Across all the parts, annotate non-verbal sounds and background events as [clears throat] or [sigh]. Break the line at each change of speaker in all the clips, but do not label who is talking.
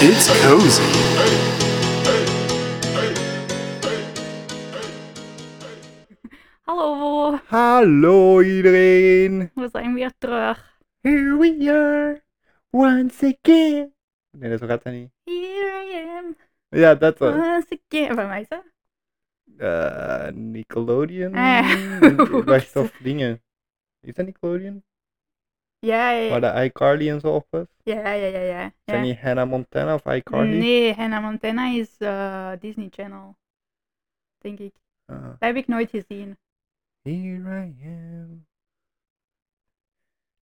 It's cozy.
Hallo,
Hallo iedereen.
we zijn weer terug.
Here we are. Once again. Nee, dat gaat hij niet.
Here I am,
Ja, dat was.
once again. Van mij, hè?
eh, Nickelodeon.
Eh, [laughs]
Wacht, of dingen. Is dat Nickelodeon?
Ja, ja,
Waar de iCarly en zo op was?
Eh. ja, ja, ja, ja.
Zijn
ja.
die Hannah Montana of iCarly?
Nee, Hannah Montana is eh, Disney Channel. Denk ik.
Ah.
Dat heb ik nooit gezien.
Here I am.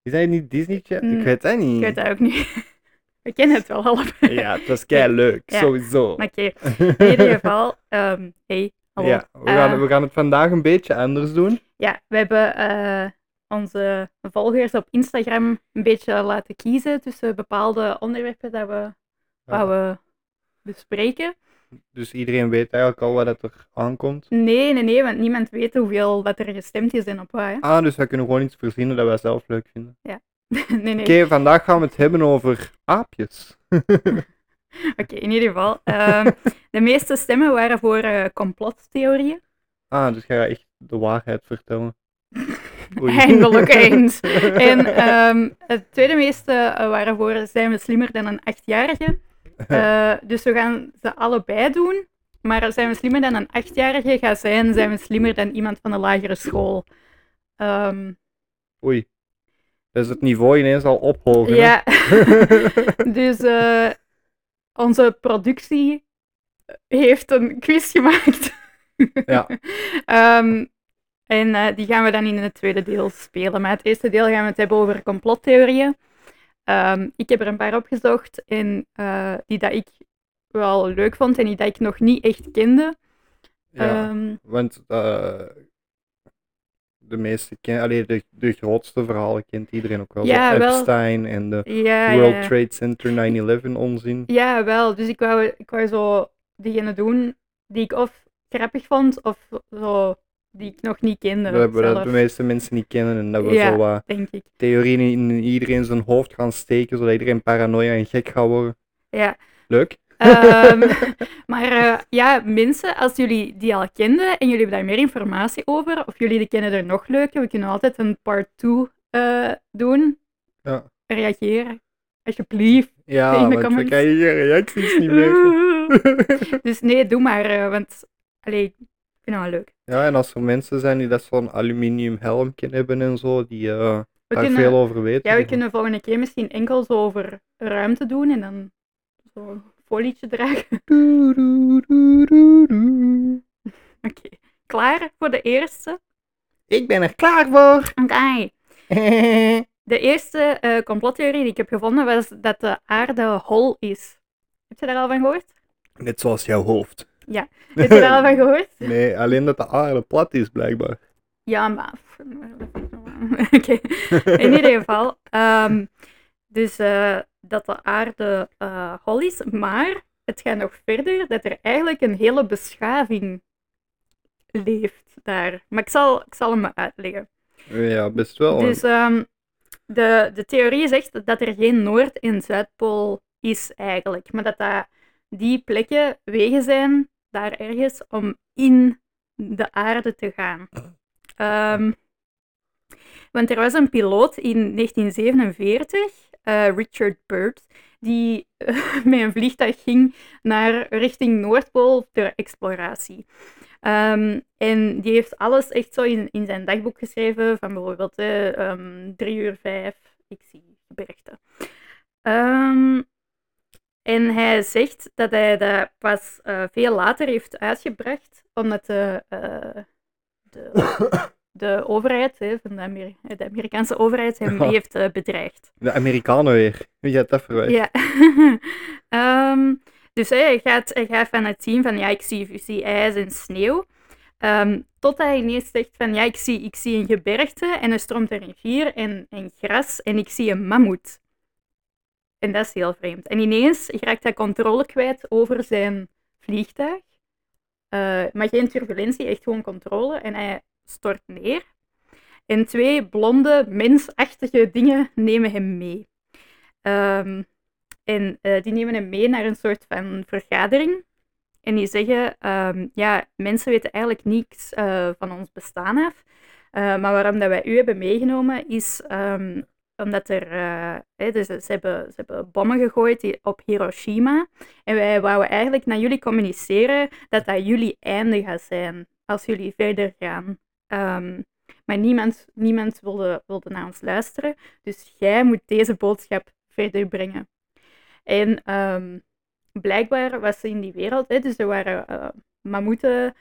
Is dat niet Disney Channel?
Mm,
Ik weet het niet.
Ik weet dat ook niet. [laughs] We kennen het wel allebei.
Hmm. Ja, het was kei leuk,
Ja.
sowieso.
[laughs] Maar Oké, in ieder geval, ehm, hey, hallo.
[laughs] Ja, we gaan,
Eh,
we gaan het vandaag een beetje anders doen.
ja, we hebben eh, onze volgers op Instagram een beetje laten kiezen tussen bepaalde onderwerpen dat we wou we bespreken.
Dus iedereen weet eigenlijk al wat dat er aankomt.
Nee, nee, nee, want niemand weet hoeveel dat er gestemd is en op wat. hè. [laughs]
Ah, dus we kunnen gewoon iets verzinnen dat wij zelf leuk vinden.
Nee, nee.
Oké, vandaag gaan we het hebben over aapjes.
Oké, in ieder geval.
[laughs]
ehm, de meeste stemmen waren voor eh, complottheorieën.
Ah, dus ga je echt de waarheid vertellen.
[laughs]
Oei. [laughs]
Eindelijk eens. En ehm, het tweede meeste eh, waren voor zijn we slimmer dan een
[laughs]
achtjarige. Eh, dus we gaan ze allebei doen. Maar zijn we slimmer dan een achtjarige gaat zijn, zijn we slimmer dan iemand van de lagere school. Ehm,
Oei. Dat is het niveau ineens al ophogen. hè?
ja, Dus eh, onze productie heeft een quiz gemaakt.
[laughs]
[laughs]
Ja.
Ehm, en eh, die gaan we dan in het tweede deel spelen. Maar het eerste deel gaan we het hebben over complottheorieën. Ehm, ik heb er een paar opgezocht en eh, die dat ik wel leuk vond en die dat ik nog niet echt kende.
ja.
Ehm,
Want eh, de meeste ken, allee, de, de grootste verhalen kent iedereen ook wel. De
Ja, wel.
Epstein en de
ja, ja,
World
ja.
Trade Center 9-11 onzin.
Ja, wel. Dus ik wou, ik wou zo diegene doen die ik of grappig vond, of zo die ik nog niet kende.
Dat, hebben- dat
zelf,
de meeste mensen niet kennen en dat we
Ja.
zo wat
denk ik.
theorieën in iedereen zijn hoofd gaan steken, zodat iedereen paranoia en gek gaat worden.
Ja.
Leuk.
Ehm,
[laughs]
maar eh, ja, mensen, als jullie die al kenden en jullie hebben daar meer informatie over, of jullie die kennen er nog leuker, we kunnen altijd een part 2 doen.
Ja.
Reageer, alsjeblieft. In
Ja,
de
want we
comments.
krijgen hier reacties niet meer.
[laughs]
[laughs]
dus nee, doe maar, eh, want allee, ik vind het wel leuk.
ja, en als er mensen zijn die dat zo'n aluminium helmje hebben en zo, die eh,
We
daar
kunnen-
veel over weten.
Ja, we
die-
kunnen volgende keer misschien enkel zo over ruimte doen en dan zo'n folietje dragen. [laughs]
Doe, doe, doe, doe, doe.
Oké, klaar voor de eerste?
Ik ben er klaar voor. [laughs]
Oké. De eerste eh, complottheorie die ik heb gevonden was dat de aarde hol is. Heb je daar al van gehoord?
Net zoals jouw hoofd.
Ja. Heb je daar al van gehoord?
Nee, alleen dat de aarde plat is, blijkbaar.
[laughs] Ja, maar... pff, dat vind ik nog wel. [laughs] Oké, in ieder geval. ehm, dus eh, dat de aarde eh, hol is, maar het gaat nog verder dat er eigenlijk een hele beschaving leeft daar. Maar ik zal, ik zal hem maar uitleggen.
ja, best wel.
Dus ehm, de, de theorie zegt dat er geen Noord- en Zuidpool is eigenlijk. Maar dat, dat die plekken wegen zijn, daar ergens, om in de aarde te gaan. Ehm, want er was een piloot in 1947, eh, Richard Byrd, die [laughs] eh, met een vliegtuig ging naar richting Noordpool ter exploratie. Ehm, en die heeft alles echt zo in, in zijn dagboek geschreven, van bijvoorbeeld hè, ehm, drie uur vijf, ik zie berichten. Ehm, en hij zegt dat hij dat pas eh, veel later heeft uitgebracht, omdat de, eh, de, de overheid, hè, van de, Amer- de Amerikaanse overheid, hem
Ja.
heeft eh, bedreigd.
De Amerikanen weer. Wie gaat dat verwijten?
Ja. [laughs] Ehm, dus hè, hij, gaat, hij gaat van het zien van ja, ik zie, ik zie ijs en sneeuw. Ehm, tot hij ineens zegt van ja, ik zie, ik zie een gebergte en er stroomt een rivier en, en gras en ik zie een mammoet. En dat is heel vreemd. En ineens raakt hij controle kwijt over zijn vliegtuig. Eh, maar geen turbulentie, echt gewoon controle. En hij stort neer. En twee blonde, mensachtige dingen nemen hem mee. Ehm, En eh, die nemen hem mee naar een soort van vergadering. En die zeggen, ehm, ja, mensen weten eigenlijk niets eh, van ons bestaan af. Eh, maar waarom dat wij u hebben meegenomen is ehm, omdat er, eh, hè, dus ze, hebben, ze hebben bommen gegooid die- op Hiroshima. En wij wouden eigenlijk naar jullie communiceren dat dat jullie einde gaat zijn als jullie verder gaan. Ehm, maar niemand, niemand wilde, wilde naar ons luisteren. Dus jij moet deze boodschap verder brengen. En ehm, blijkbaar was ze in die wereld, hè, dus er waren eh mammoeten,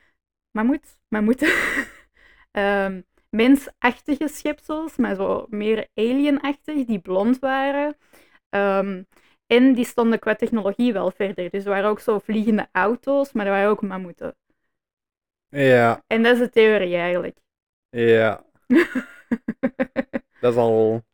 mammoet, mammoeten, [laughs] Ehm, mensachtige schepsels, maar zo meer alienachtig, die blond waren. Ehm, en die stonden qua technologie wel verder. Dus er waren ook zo vliegende auto's, maar er waren ook mammoeten.
Ja,
En dat is de theorie eigenlijk. [laughs]
ja. Dat is al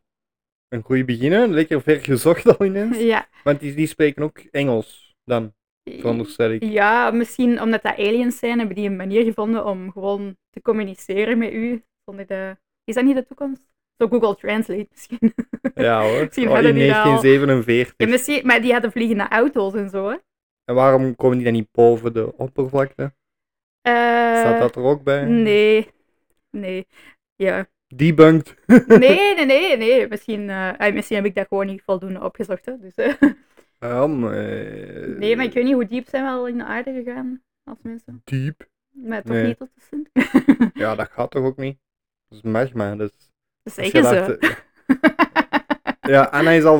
een goede beginnen. Lekker ver gezocht al ineens.
ja.
Want die, die spreken ook Engels dan, veronderstel ik.
Ja, misschien omdat dat aliens zijn, hebben die een manier gevonden om gewoon te communiceren met u. Zonder de... Is dat niet de toekomst? Zo Google Translate [laughs] misschien.
Ja hoor.
Misschien
Al
hadden
in
die dat al.
1947.
Ja, misschien. Maar die hadden vliegende auto's en zo, hè?
En waarom komen die dan niet boven de oppervlakte?
Eh,
Staat dat er ook bij?
Nee. Nee. Ja.
Debunked.
Nee, nee, nee, nee. Misschien, eh, ah, misschien heb ik dat gewoon niet voldoende opgezocht. Hè. Dus, eh. [laughs]
Ja, maar, Ah, eh,
Nee, maar ik weet niet hoe diep zijn we al in de aarde gegaan als mensen.
Diep.
Maar toch
Nee.
niet tot de [laughs] zin.
Ja, dat gaat toch ook niet? Dat is magma. Dat is...
Zeggen
als je
ze.
dacht, eh, Ja, Anna is al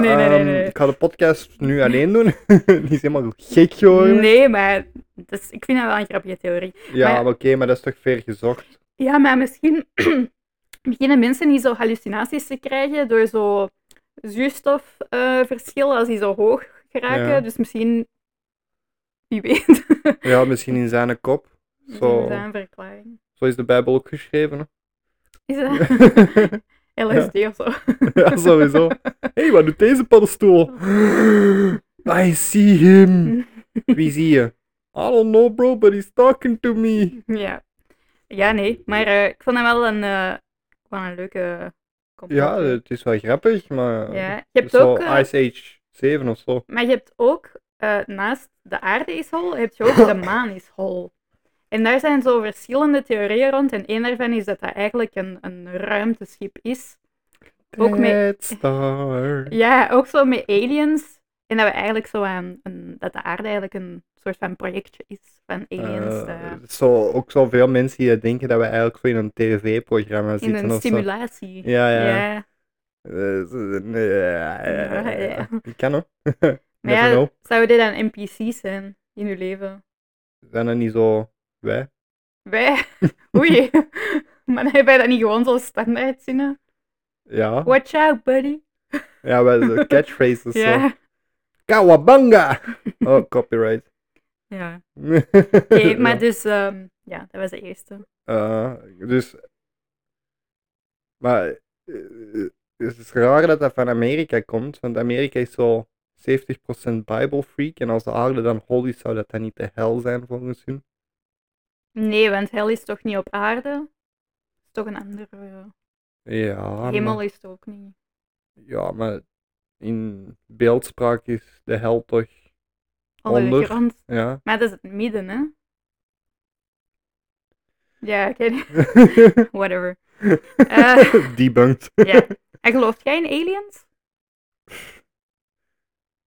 [laughs] Nee, nee, nee,
Ehm,
nee.
Ik ga de podcast nu alleen doen. [laughs] die is helemaal gek
[laughs]
geworden.
Nee, maar dat is- ik vind dat wel een grappige theorie.
Ja,
Maar-
maar oké, maar dat is toch ver gezocht?
Ja, maar misschien [clears throat] beginnen mensen niet zo hallucinaties te krijgen door zo zuurstofverschillen als die zo hoog geraken.
Ja.
Dus misschien, wie weet, [laughs]
Ja, misschien in zijn kop.
zo.
Zo,
is dat een verklaring.
zo is de Bijbel ook
[laughs]
geschreven. hè.
Is
[laughs]
dat [laughs] LSD of zo? [laughs]
ja, sowieso. Hé, hey, wat doet deze
[laughs]
paddenstoel? I see him. Wie zie je? I don't know, bro, but he's talking to me.
ja. ja, nee. Maar eh, ik vond hem wel een, eh, wel een leuke complot.
Ja, het is wel grappig, maar.
Ja. Je
het is
hebt ook...
zo
eh,
Ice Age 7 of zo.
Maar je hebt ook, eh, naast de aarde is hol, heb je
[laughs]
ook de maan is hol. En daar zijn zo verschillende theorieën rond. En één daarvan is dat dat eigenlijk een, een ruimteschip is. Ook met-
Dead Star.
Ja, ook zo met aliens. En dat we eigenlijk zo aan, een, dat de aarde eigenlijk een soort van projectje is van aliens.
Eh,
eh,
zo, ook zoveel mensen die denken dat we eigenlijk zo in een tv-programma
in
zitten
een
of zo.
simulatie.
Ja, ja.
ja.
Eh, zo- nee, eh,
Ja, ja.
Ik kan [laughs] hoor.
Maar
Never
ja,
know.
zouden dit dan NPC's zijn in uw leven?
Zijn dat niet zo wij? [laughs]
Wij? Oei. [laughs] maar hebben wij dat niet gewoon zo standaard zinnen?
Ja.
Watch out, buddy.
Ja,
[laughs]
wij de catchphrases Oh. zo.
Ja. [laughs]
Kawabanga! Oh, copyright.
ja. Oké,
[laughs] Oké,
maar dus, ehm, ja, dat was de eerste.
Eh, dus. Maar eh, het is raar dat dat van Amerika komt, want Amerika is zo 70% Bible freak. En als de aarde dan hol is, zou dat dan niet de hel zijn volgens hun.
Nee, want hel is toch niet op aarde? Het is toch een andere.
Ja,
hemel
Maar,
is het ook niet.
ja, maar in beeldspraak is de hel toch.
Onder
Onder.
de grond.
Ja.
Maar dat is het midden, hè? Ja, oké. [laughs] Whatever. Eh.
[laughs] Debunked.
Ja. En gelooft jij in aliens?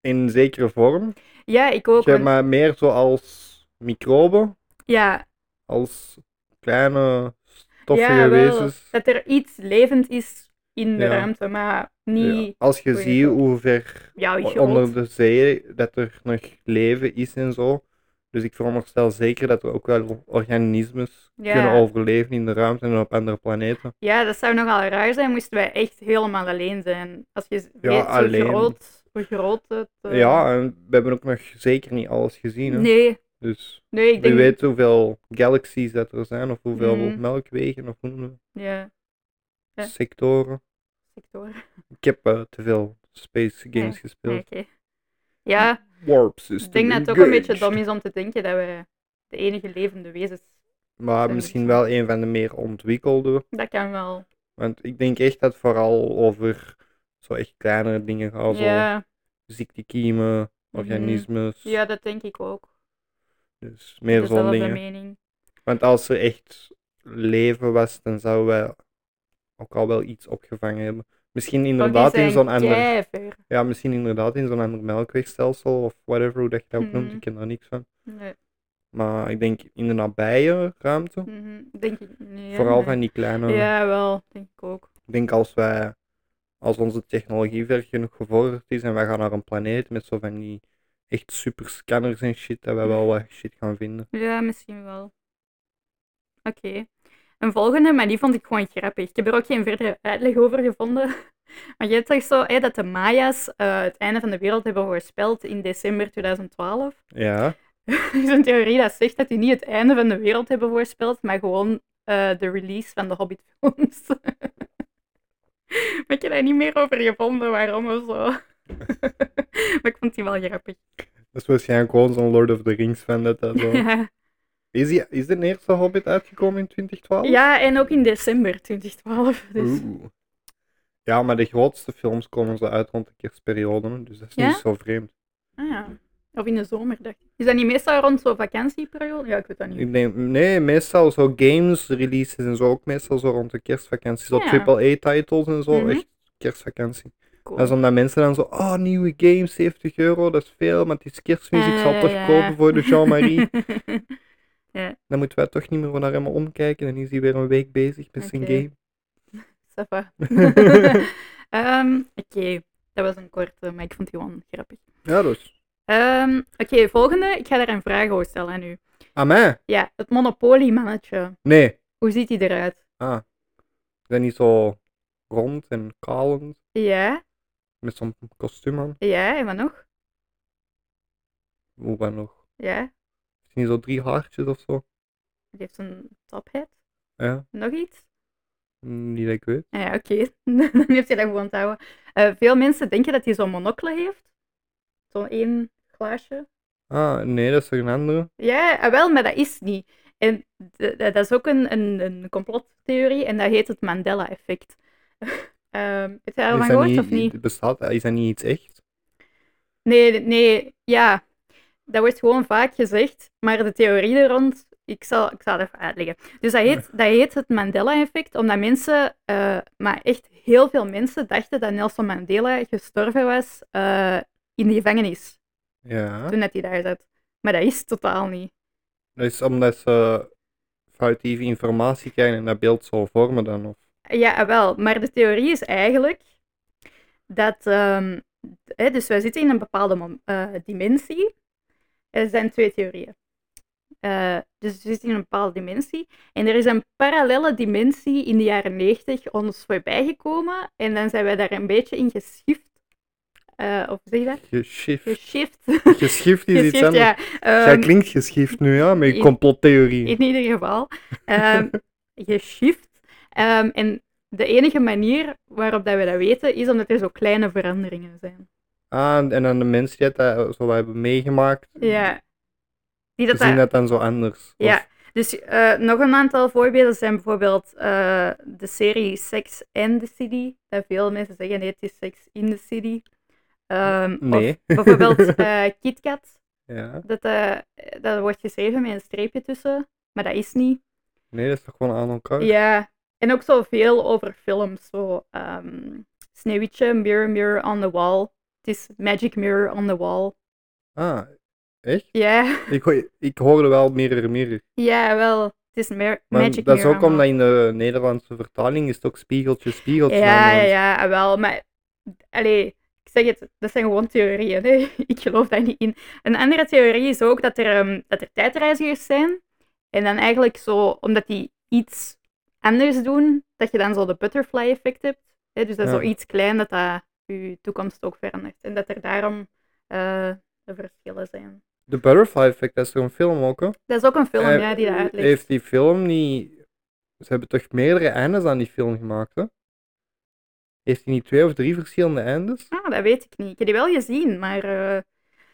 In zekere vorm.
Ja, ik ook.
Jij,
want-
maar meer zo als microben,
Ja,
als kleine stoffige
ja wel,
wezens.
dat er iets levend is in de
Ja.
ruimte, maar
Ja,
niet...
Als je
Goeie
ziet
vraag.
hoe ver
Ja, ja
onder de zee dat er nog leven is en zo. Dus ik veronderstel zeker dat er ook wel organismes
Ja.
kunnen overleven in de ruimte en op andere planeten.
Ja, dat zou nogal raar zijn, moesten wij echt helemaal alleen zijn. Als je weet hoe
alleen.
groot, hoe groot het... eh,
Ja, en we hebben ook nog zeker niet alles gezien. Hè?
Nee,
Dus
nee, ik
wie
denk...
weet hoeveel galaxies dat er zijn, of hoeveel
Mhm.
melkwegen, of hoe noemen we
Ja, Ja.
dat? sectoren.
sector.
Ik heb eh, te veel space games
Nee,
gespeeld.
Ah, Oké. Ja,
Warp system
ik denk dat het ook een beetje
engaged.
dom is om te denken dat wij de enige levende wezens...
Maar
Zijn dus-
misschien
het.
wel een van de meer ontwikkelde
Dat kan wel.
Want ik denk echt dat het vooral over zo echt kleinere dingen gaat. zo.
ja,
ziektekiemen,
Mhm.
organismes.
Ja, dat denk ik ook.
Dus meer zo'n
Dezelfde
dingen.
mening.
Want als er echt leven was, dan zouden wij ook al wel iets opgevangen hebben. Misschien
Want die
inderdaad in
zijn
zo'n ander,
keiver.
ja, misschien inderdaad in zo'n ander melkwegstelsel of whatever hoe dat je dat ook noemt.
Mhm.
Ik ken daar niks van.
Nee.
Maar ik denk in de nabije ruimte,
mhm, Denk ik nee,
vooral
nee.
van die kleine.
Ja, wel, denk ik ook.
Ik denk als wij, als onze technologie ver genoeg gevorderd is en wij gaan naar een planeet met zo van die echt super scanners en shit, dat wij wel wat shit gaan vinden.
Ja, misschien wel. Oké. Een volgende, maar die vond ik gewoon grappig. Ik heb er ook geen verdere uitleg over gevonden. [laughs] Maar jij zegt zo hè, dat de Maya's eh, het einde van de wereld hebben voorspeld in december 2012. [laughs]
Ja,
Er is een theorie dat zegt dat die niet het einde van de wereld hebben voorspeld, maar gewoon eh, de release van de Hobbit-films. [laughs] maar ik heb daar niet meer over gevonden, waarom of zo. [laughs] maar ik vond die wel grappig.
dat is waarschijnlijk gewoon zo'n Lord of the Rings fan dat dat
[laughs]
zo...
Ja.
Is, die, is de eerste Hobbit uitgekomen in 2012?
ja, en ook in december 2012. Dus.
Oeh. Ja, maar de grootste films komen zo uit rond de kerstperiode, hè, dus dat is
Ja?
niet zo vreemd.
Ah ja. Of in de zomer, dacht ik. Is dat niet meestal rond zo'n vakantieperiode? Ja, ik weet dat niet.
Ik denk, nee, meestal zo games releases en zo, ook meestal zo rond de kerstvakantie. Zo
Ja.
AAA-titles en zo,
Mhm.
echt kerstvakantie.
Cool.
Dat is omdat mensen dan zo, oh, nieuwe game, 70 euro, dat is veel, maar het is kerstmis, ik zal
Eh,
toch
ja.
kopen voor de Jean-Marie. Dan moeten wij toch niet meer naar hem omkijken, dan is hij weer een week bezig met zijn
Oké.
game.
[laughs] Ça
[laughs]
va. Ehm, Oké, dat was een korte, maar ik vond die wel grappig.
Ja, dus.
Ehm, Oké, volgende. Ik ga daar een vraag over stellen aan u.
Aan mij?
Ja, het monopoliemannetje.
Ah, Nee.
Hoe ziet hij eruit?
Ah. Ik ben niet zo rond en kalend,
Ja,
met zo'n kostuum aan.
ja, en wat nog?
Hoe dan nog?
Ja,
Is het niet zo drie haartjes of zo?
die heeft een tophead.
Ja,
Nog iets?
Mm, niet dat ik weet.
Ah Ja, oké. [laughs] Dan heeft hij dat gewoon te houden. Eh, veel mensen denken dat hij zo'n monocle heeft. Zo'n één glaasje.
Ah, nee, dat is toch een andere?
Ja, ah, wel, maar dat is niet. En d- d- dat is ook een, een, een complottheorie en dat heet het Mandela-effect. [laughs] Ehm heb je daarvan
is,
gehoord
niet,
of niet?
Bestaat, eh, is dat niet iets echt?
Nee, nee, ja. Dat wordt gewoon vaak gezegd, maar de theorie er rond, ik zal, ik zal het even uitleggen. Dus dat heet, dat heet het Mandela-effect, omdat mensen, eh, maar echt heel veel mensen, dachten dat Nelson Mandela gestorven was eh, in de gevangenis,
Ja.
toen dat hij daar zat. Maar dat is totaal niet.
Dat is omdat ze foutieve informatie krijgen en dat beeld zo vormen dan. Of...
Ja, wel. Maar de theorie is eigenlijk dat. ehm, hè, dus wij zitten in een bepaalde mom- eh, dimensie. Er zijn twee theorieën. Eh, dus we zitten in een bepaalde dimensie. En er is een parallele dimensie in de jaren 90 ons voorbijgekomen. En dan zijn wij daar een beetje in geschift. Eh, of zeg je dat?
Geschift.
Geschift.
Geschift is iets
Geschift,
anders.
ja.
Jij
Ehm,
klinkt geschift nu, ja, met je
in-
complottheorie.
in ieder geval,
[laughs]
ehm geshift. Ehm, en de enige manier waarop dat we dat weten, is omdat er zo kleine veranderingen zijn.
Ah, en aan de mensen die dat eh, zo hebben meegemaakt,
Ja. Die dat
Mm. zien
daar-
dat dan zo anders.
Ja.
Of-
Dus eh, nog een aantal voorbeelden zijn bijvoorbeeld eh, de serie Sex and the City. Dat veel mensen zeggen, nee, het is Sex in the City. Ehm,
Nee.
Of bijvoorbeeld eh Kit Kat.
[laughs] ja.
Dat, eh, dat wordt geschreven met een streepje tussen, maar dat is niet.
Nee, dat is toch gewoon aan elkaar?
Ja, en ook zoveel over films. Zo, ehm Sneeuwwitje, Mirror, Mirror on the Wall. Het is Magic Mirror on the Wall.
Ah, echt?
Ja, [laughs]
Ik, hoor- ik hoorde wel meer meer.
ja wel. Het is mer-
Maar
Magic
dat is
Mirror
ook
on the
omdat in de Nederlandse vertaling is het ook spiegeltje, spiegeltje.
Wall. Ja,
aan
ja,
de-
ja, ah, wel. Maar, allee, ik zeg het, dat zijn gewoon theorieën. Hè? [laughs] Ik geloof daar niet in. Een andere theorie is ook dat er, ehm, dat er tijdreizigers zijn. En dan eigenlijk zo, omdat die iets anders doen, dat je dan zo de butterfly effect hebt. Hè? Dus dat is
Ja.
zo iets klein dat dat je toekomst ook verandert. En dat er daarom eh, de verschillen zijn.
De Butterfly Effect, dat is toch een film ook, hè?
Dat is ook een film
Eh,
ja, die dat uitlegt.
Heeft die film niet... Ze hebben toch meerdere eindes aan die film gemaakt, hè? Heeft hij niet twee of drie verschillende eindes?
Ah, dat weet ik niet. Ik heb die wel gezien, maar... eh,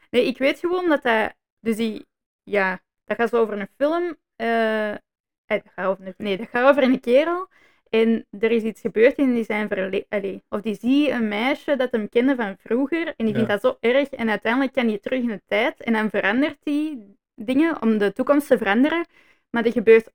Nee, ik weet gewoon dat dat... Dus die... Ja, dat gaat zo over een film. eh, eh, dat gaat over een... Nee, dat gaat over een kerel. En er is iets gebeurd en die zijn verle- allee, Of die zie een meisje dat hem kende van vroeger en die vindt
Ja.
dat zo erg. En uiteindelijk kan hij terug in de tijd en dan verandert hij dingen om de toekomst te veranderen. Maar dat gebeurt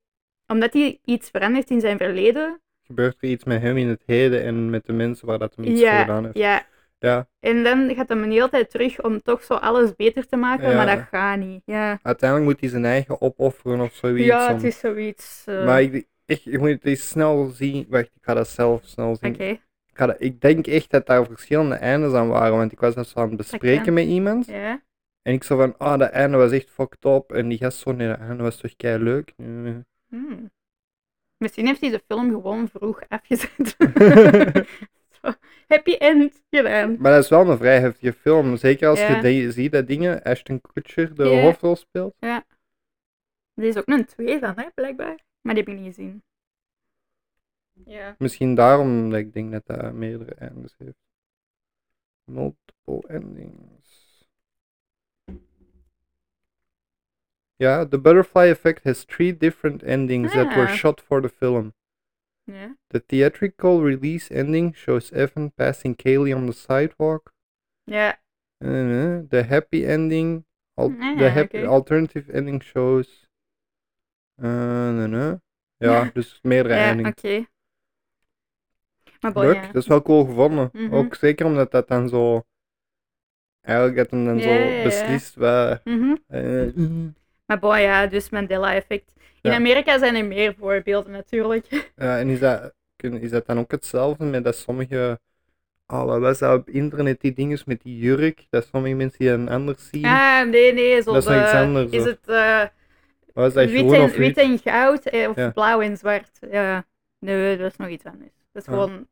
omdat hij iets verandert in zijn verleden.
Gebeurt er iets met hem in het heden en met de mensen waar dat hem iets voor gedaan
ja,
heeft?
ja.
Ja,
En dan gaat hij een hele tijd terug om toch zo alles beter te maken,
Ja.
maar dat gaat niet. Ja,
uiteindelijk moet hij zijn eigen opofferen of zoiets.
ja
om-
het is zoiets. eh,
Maar ik, ik, ik moet het eens snel zien. Wacht, ik ga dat zelf snel zien.
Oké,
Ik, ga dat- ik denk echt dat daar verschillende eindes aan waren. Want ik was dat zo aan het bespreken
kan.
met iemand.
ja.
En ik zo van, ah, dat einde was echt fucked up. En die gast zo, nee, dat einde was toch kei leuk.
Hmm. Misschien heeft hij de film gewoon vroeg
[laughs]
afgezet. Zo, Happy end gedaan.
Maar dat is wel een vrij heftige film. Zeker als je
Ja.
die- ziet dat dingen, Ashton Kutcher de
Ja.
hoofdrol speelt.
Er is ook een twee van, hè, blijkbaar. Maar die heb ik niet gezien. Ja.
Misschien daarom dat ik denk dat dat meerdere eindes heeft. Multiple endings. Ja, The Butterfly Effect has three different endings that were
Ah.
shot for the film.
ja.
The theatrical release ending shows Evan passing Kaylee on the sidewalk.
Ja,
Uh, the happy ending, al- the
Ah,
happy
oké.
alternative ending shows. Uh, nee, nee.
[laughs]
Ja, dus meerdere
ja, oké.
endings.
Maar bon,
Leuk,
ja.
dat is wel cool gevonden.
Mhm.
Ook zeker omdat dat dan zo. Eigenlijk dat hem dan
Ja, ja,
zo
ja.
beslist wat.
Mhm.
eh,
Maar bon, ja, dus Mandela-effect. In
Ja.
Amerika zijn er meer voorbeelden natuurlijk.
ja, en is dat, kun- is dat dan ook hetzelfde met dat sommige. Oh, wat was dat op internet, die dinges met die jurk? Dat sommige mensen die een ander zien.
Ah, nee, nee. Zo
Dat is nog
de-
iets anders,
Is
hoor.
het eh,
was dat
wit,
groen
en,
of wit?
wit en goud eh, of
Ja.
blauw en zwart? Ja. Nee, dat is nog iets anders. Dat is
Ah.
gewoon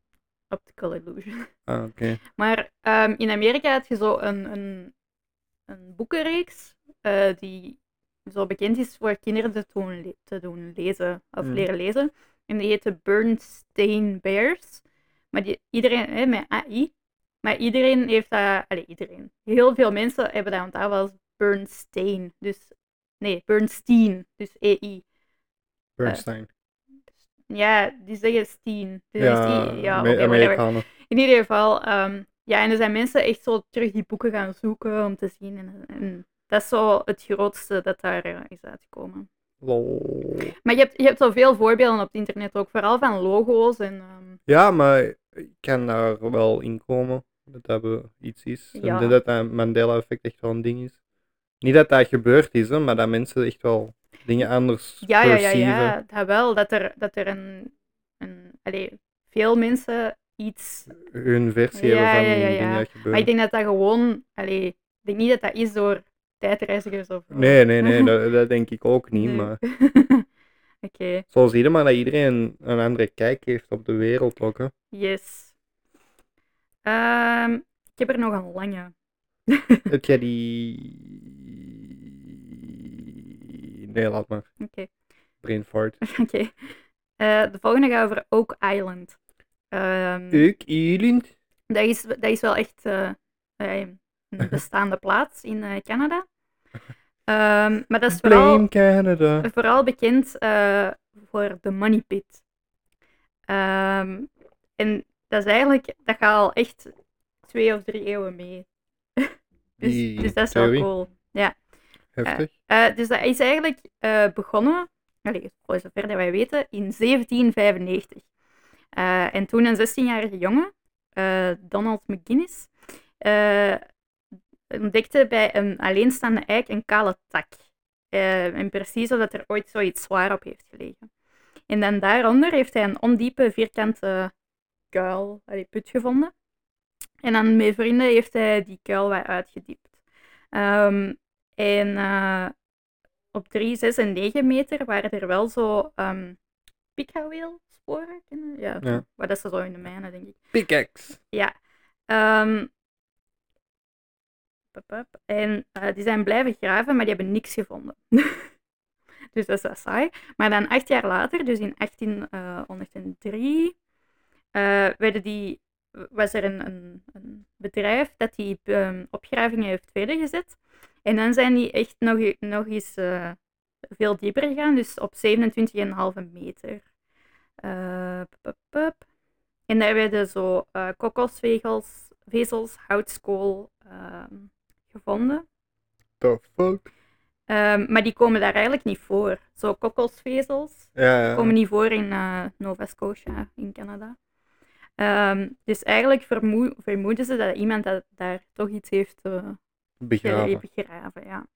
optical illusion.
Ah, oké.
Maar ehm, in Amerika had je zo een, een, een boekenreeks eh, die zo bekend is voor kinderen te doen, le- te doen lezen of
Mm.
leren lezen. En die heette Bernstein Bears. Maar die, iedereen, hè, met AI. Maar iedereen heeft dat, allee, iedereen. Heel veel mensen hebben dat onthouden als Bernstein. Dus, nee, Bernstein. Dus EI.
Bernstein.
Ja, die zeggen steen. Eh, Dus
ja,
die- ja,
Amer-
oké, whatever.
Amerikanen.
In ieder geval, ehm, ja, en er zijn mensen echt zo terug die boeken gaan zoeken om te zien. En, en dat is zo het grootste dat daar eh, is uitgekomen.
Lol.
Maar je hebt, je hebt zoveel voorbeelden op het internet ook, vooral van logo's en... ehm,
Ja, maar ik kan daar wel in komen. Dat dat wel iets is.
Ja.
En dat dat Mandela-effect echt wel een ding is. Niet dat dat gebeurd is, hè, maar dat mensen echt wel dingen anders
ja, ja, ja,
perceiven.
ja, dat wel. Dat er, dat er een... een allee, veel mensen iets...
Hun versie
Ja,
hebben van
ja, ja,
dingen
ja.
dat gebeuren.
Maar ik denk dat dat gewoon... Allee, ik denk niet dat dat is door tijdreizigers of...
Nee,
[laughs]
nee, nee, dat, dat denk ik ook niet.
Nee.
Maar
[laughs] Oké,
zo zie je maar dat iedereen een andere kijk heeft op de wereld ook. Hè.
yes. Ehm, ik heb er nog een lange.
Heb jij die... Nee, laat maar.
Oké.
Brain fart.
Oké. Eh, de volgende gaat over Oak Island. Ehm,
Ik, Elend.
dat, is, dat is wel echt eh, eh, een bestaande plaats in eh, Canada. Ehm, maar dat is vooral,
Blame Canada.
vooral bekend eh, voor de Money Pit. Ehm, en dat is eigenlijk, dat gaat al echt twee of drie eeuwen mee. [laughs] dus,
Die
dus dat is wel
theorie.
cool.
Heftig.
Eh, dus dat is eigenlijk eh, begonnen, allee, voor zover dat wij weten, in 1795. Eh, en toen een 16-jarige jongen, eh, Donald McGuinness, eh, ontdekte bij een alleenstaande eik een kale tak. Eh, en precies omdat er ooit zoiets zwaar op heeft gelegen. En dan daaronder heeft hij een ondiepe vierkante kuil, allee, put gevonden. En dan met vrienden heeft hij die kuil wat uitgediept. Ehm, en eh, op 3, 6 en 9 meter waren er wel zo ehm pikhaweelsporen. ken je? Ja,
Ja.
maar dat is zo in de mijnen, denk ik.
Pickaxe.
Ehm, pap, pap. en eh, die zijn blijven graven, maar die hebben niks gevonden. [laughs] dus dat is wel saai. Maar dan acht jaar later, dus in 1803, eh, werden die, was er een, een, een bedrijf dat die ehm, opgravingen heeft verder gezet. En dan zijn die echt nog, e- nog eens eh, veel dieper gegaan, dus op 27,5 meter. Eh, pup, pup, pup. En daar werden zo eh kokosvezels, vezels, houtskool ehm, gevonden.
The fuck?
Ehm, maar die komen daar eigenlijk niet voor. Zo kokosvezels
Ja, ja.
komen niet voor in eh, Nova Scotia, in Canada. Ehm, dus eigenlijk vermoe- vermoeden ze dat iemand dat, daar toch iets heeft eh,
Begraven.
Begraven, begraven ja.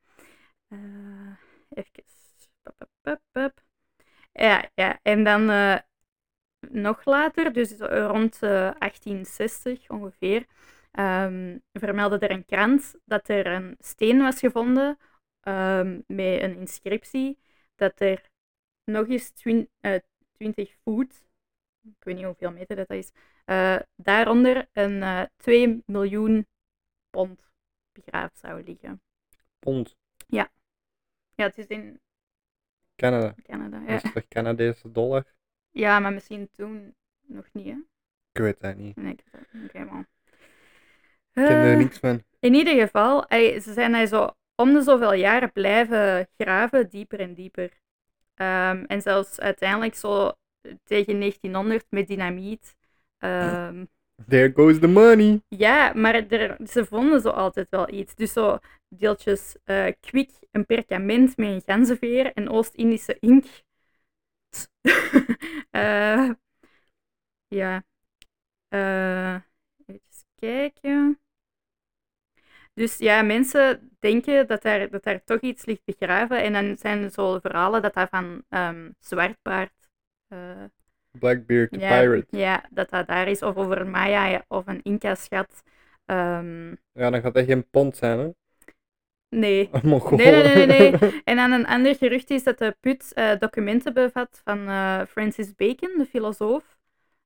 Eh, even. Pup, pup, pup, pup. Ja, ja, en dan eh, nog later, dus rond eh, 1860 ongeveer, ehm, vermeldde er een krant dat er een steen was gevonden ehm, met een inscriptie dat er nog eens twin- eh, 20 voet, ik weet niet hoeveel meter dat is, eh, daaronder een eh, 2 miljoen pond begraafd zou liggen.
Pond.
Ja, het is in
Canada.
Canada. Ja,
Is het toch Canadese dollar?
ja maar misschien toen nog niet, hè?
Ik weet dat niet.
Nee, ik weet het niet. Oké, man.
Ik ken er
Eh,
niks van.
in ieder geval, ey, ze zijn daar zo om de zoveel jaren blijven graven, dieper en dieper. Ehm, en zelfs uiteindelijk zo tegen 1900 met dynamiet. ehm,
There goes the money.
Ja, maar er, ze vonden zo altijd wel iets. Dus zo deeltjes eh kwik, een perkament met een ganzenveer en Oost-Indische ink. [laughs] Eh, ja. Eh, even kijken. Dus ja, mensen denken dat daar, dat daar toch iets ligt begraven. En dan zijn er zo verhalen dat dat van ehm Zwartpaard... eh,
Blackbeard the
ja,
pirate.
ja, dat dat daar is. Of over een Maya of een Inca-schat. Ehm,
Ja, dan gaat dat geen pond zijn, hè? [laughs]
nee.
Een Mongool.
Nee, nee, nee, nee, En dan een ander gerucht is dat de put eh, documenten bevat van eh, Francis Bacon, de filosoof.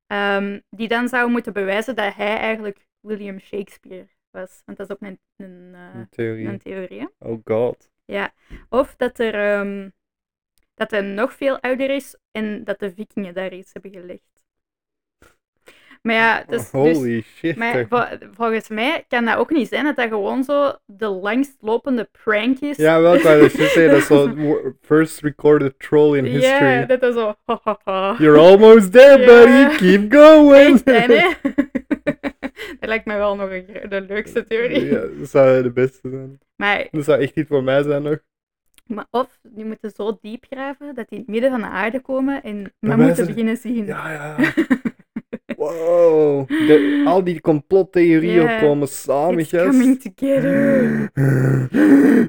ehm, die dan zou moeten bewijzen dat hij eigenlijk William Shakespeare was. Want dat is ook een, een, eh,
In theorie.
een theorie. hè.
Oh god.
Ja. Of dat er, ehm, dat hij nog veel ouder is en dat de vikingen daar iets hebben gelegd. Maar ja, dus, dus-
Holy shit.
maar
toch.
vol- volgens mij kan dat ook niet zijn dat dat gewoon zo de langstlopende prank is.
Ja, wel, ik wou dus juist zeggen, dat is
[laughs]
zo wo- first recorded troll in
Ja,
history.
dat is zo. ha, ha, ha.
You're
[laughs]
almost there,
Ja.
buddy. Keep going.
Echt, hè,
[laughs]
nee? [laughs] dat lijkt mij wel nog een, gro- de leukste theorie.
Ja, dat zou de beste zijn.
Maar,
Dat zou echt niet voor mij
[laughs]
zijn nog.
maar of die moeten zo diep graven dat die in het midden van de aarde komen en
Maar
maar moeten
mensen-
beginnen zien.
Ja, ja. Wow.
[laughs]
De- al die complottheorieën
Ja.
komen samen,
It's coming
[gasps] gast.
together.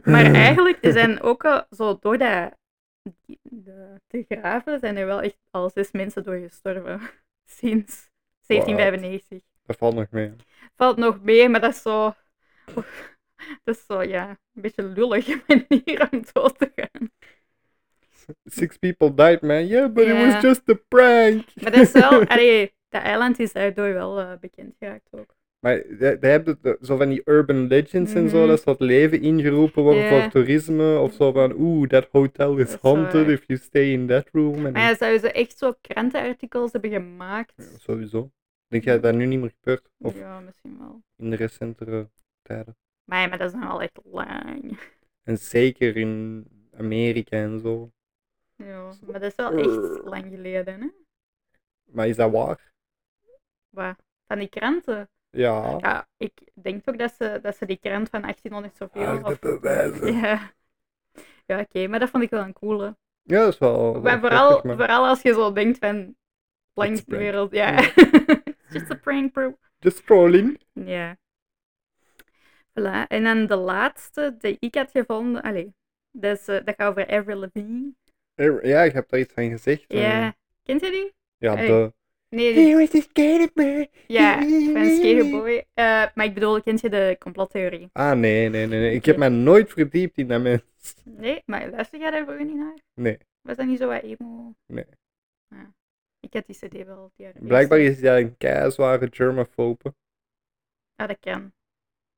Maar
Eh.
eigenlijk, er zijn ook al zo door dat de, te graven, zijn er wel echt al zes mensen door gestorven. [laughs] Sinds 1795.
Dat valt nog mee.
Valt nog mee, maar dat is zo... dat is zo, ja, een beetje een lullige manier om dood te gaan.
Six people died, man. Yeah, but it
Ja.
was just a prank.
Maar dat is wel... [laughs] Allee, dat eiland is daardoor wel eh, bekend geraakt ook.
Maar daar daar heb je het, zo van die urban legends en zo,
Mhm.
dat ze dat leven ingeroepen wordt
Ja.
voor toerisme. Of zo van, oeh, that hotel is
Dat is
haunted
waar.
if you stay in that room. En
Maar ja, zouden ze echt zo krantenartikels hebben gemaakt?
Sowieso. Denk jij dat dat nu niet meer gebeurt? Of
Ja, misschien wel.
in de recentere tijden?
Maar ja, maar dat is nou wel echt lang.
En zeker in Amerika en zo.
Ja, maar dat is wel echt lang geleden, hè?
Maar is dat waar?
Waar? Van die kranten?
Ja.
Ja, ik denk ook dat ze, dat ze die krant van 1800 zoveel...
Harde
Of...
bewijzen.
Ja, ja oké, maar dat vond ik wel een coole.
Ja, dat is wel.
maar
wel
vooral,
grappig, maar-
vooral als je zo denkt van... Langs
It's a
de
prank.
wereld, ja. [laughs] Just a prank, bro.
Just trolling.
Ja. Voilà. En dan de laatste die ik had gevonden... Allee, dat, is, eh, dat gaat over Avril Lavigne.
Ja, ik heb daar iets van gezegd.
Ja. Kent je die?
Ja,
Hey.
de.
Nee, die-
He was a skaterboy.
ja. Van Skaterboy. Eh maar ik bedoel, kent je de complottheorie?
Ah, nee, nee, nee. nee. Ik heb mij nooit verdiept in dat mens.
Nee, maar luister jij daar vroeger niet naar?
Nee.
Was dat niet zo wat emo?
Nee.
Ah. Ik had die cd wel. Die jaren
Blijkbaar
eerst.
is hij een keizware germaphobe.
Ah, dat kan.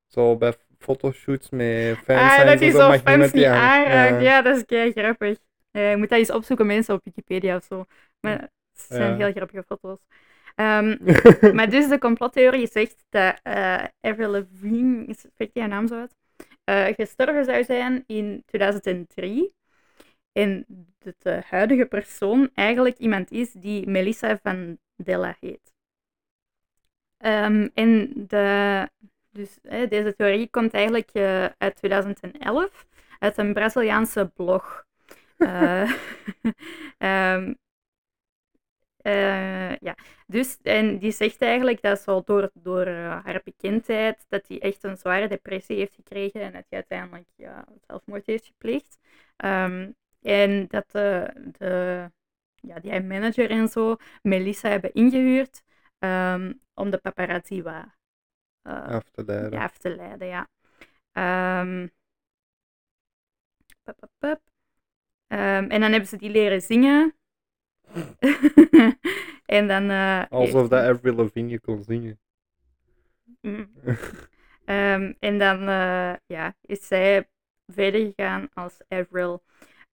Zo bij fotoshoots met fans
Ah,
zijn
dat
ze
is
zo,
zo
mag je
fans
met die
niet
aan-
aanraakt.
Ja.
Ja, dat is kei grappig. Eh, je moet dat eens opzoeken, mensen, op Wikipedia of zo. Maar het zijn
Ja.
heel grappige foto's. Ehm,
[laughs]
maar dus de complottheorie zegt dat eh Avril Lavigne, is- spreekt die haar naam zo uit, eh, gestorven zou zijn in 2003. En dat de huidige persoon eigenlijk iemand is die Melissa van Della heet. Ehm, en de, dus, hè, deze theorie komt eigenlijk eh, uit 2011 uit een Braziliaanse blog. Eh, [laughs] ehm, eh, ja, dus, en die zegt eigenlijk dat ze al door, door eh, haar bekendheid, dat hij echt een zware depressie heeft gekregen en dat hij uiteindelijk ja, zelfmoord heeft gepleegd. Ehm, en dat de, de ja, die manager en zo Melissa hebben ingehuurd ehm, om de paparazzi wat eh,
af te leiden.
ja, af te leiden, ja. Ehm, pup, pup, pup. Ehm, en dan hebben ze die leren zingen. [laughs] en dan... eh,
Alsof
heeft-
dat Avril Lavigne kon zingen.
Mm.
[laughs]
Ehm, en dan eh, ja, is zij verder gegaan als Avril.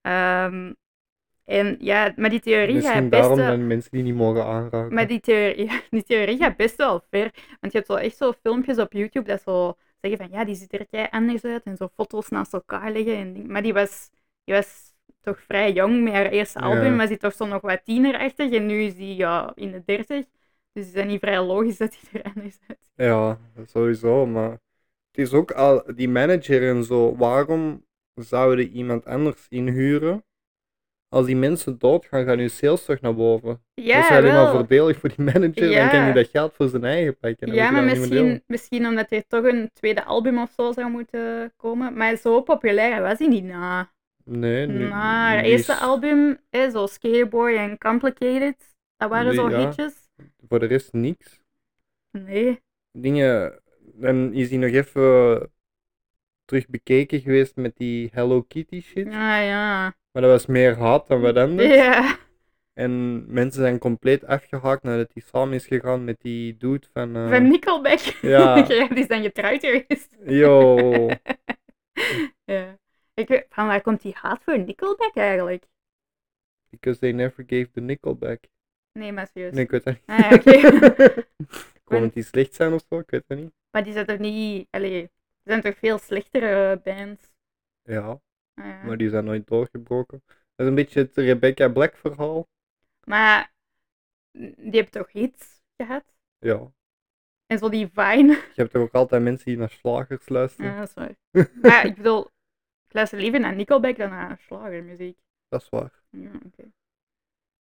Ehm, en ja, maar die theorie
Misschien
gaat
daarom
best... wel-
zijn mensen die niet mogen aanraken.
Maar die theorie, [laughs] ja, die theorie gaat best wel ver. Want je hebt zo echt zo filmpjes op YouTube dat zo zeggen van ja, die ziet er kei anders uit. En zo foto's naast elkaar liggen. En, ding- maar die was, die was toch vrij jong met haar eerste
Ja.
album. Was die toch zo nog wat tienerachtig. En nu is die ja, in de dertig. Dus is dat niet vrij logisch dat hij er anders uit.
Ja, sowieso, maar het is ook al die manager en zo. Waarom zouden iemand anders inhuren? Als die mensen doodgaan, gaan hun sales toch naar boven.
Ja,
dat is alleen
wel.
maar voordelig voor die manager. Dan kan
Ja.
hij dat geld voor zijn eigen pakken. Dan
Ja,
moet
maar
hij dat niet meer
misschien, misschien omdat er toch een tweede album of zo zou moeten komen. Maar zo populair was hij niet na.
doen. Nee, nu,
Na haar
nu
eerste
is-
album, hè, zo Skateboy en Complicated, dat waren
Nee,
zo
ja.
hitjes.
Voor de rest niks.
Nee.
Dingen. Dan is hij nog even eh, terug bekeken geweest met die Hello Kitty shit.
Ja, ja.
Maar dat was meer haat dan wat anders.
Ja.
En mensen zijn compleet afgehaakt nadat hij samen is gegaan met die dude van. eh,
[laughs] Van Nickelback.
Ja.
[laughs] Die is dan getrouwd
[laughs]
geweest.
Yo.
Ja. Ik weet, van waar komt die haat voor Nickelback eigenlijk?
Because they never gave the nickel back.
Nee, maar serieus.
Nee, ik weet dat niet.
Ah, ja,
[laughs]
[laughs] oké.
Kon het die slecht zijn of zo? Ik weet dat niet.
maar die zijn toch niet... Allee, er zijn toch veel slechtere eh, bands?
Ja,
Ah, ja.
maar die zijn nooit doorgebroken. Dat is een beetje het Rebecca Black verhaal.
Maar die hebben toch hits gehad?
Ja.
En zo die Vine.
Je hebt toch ook altijd mensen die naar slagers luisteren?
Ja, dat is
[laughs]
waar. Maar ik bedoel, ik luister liever naar Nickelback dan naar slagermuziek.
Dat is waar.
Ja, oké.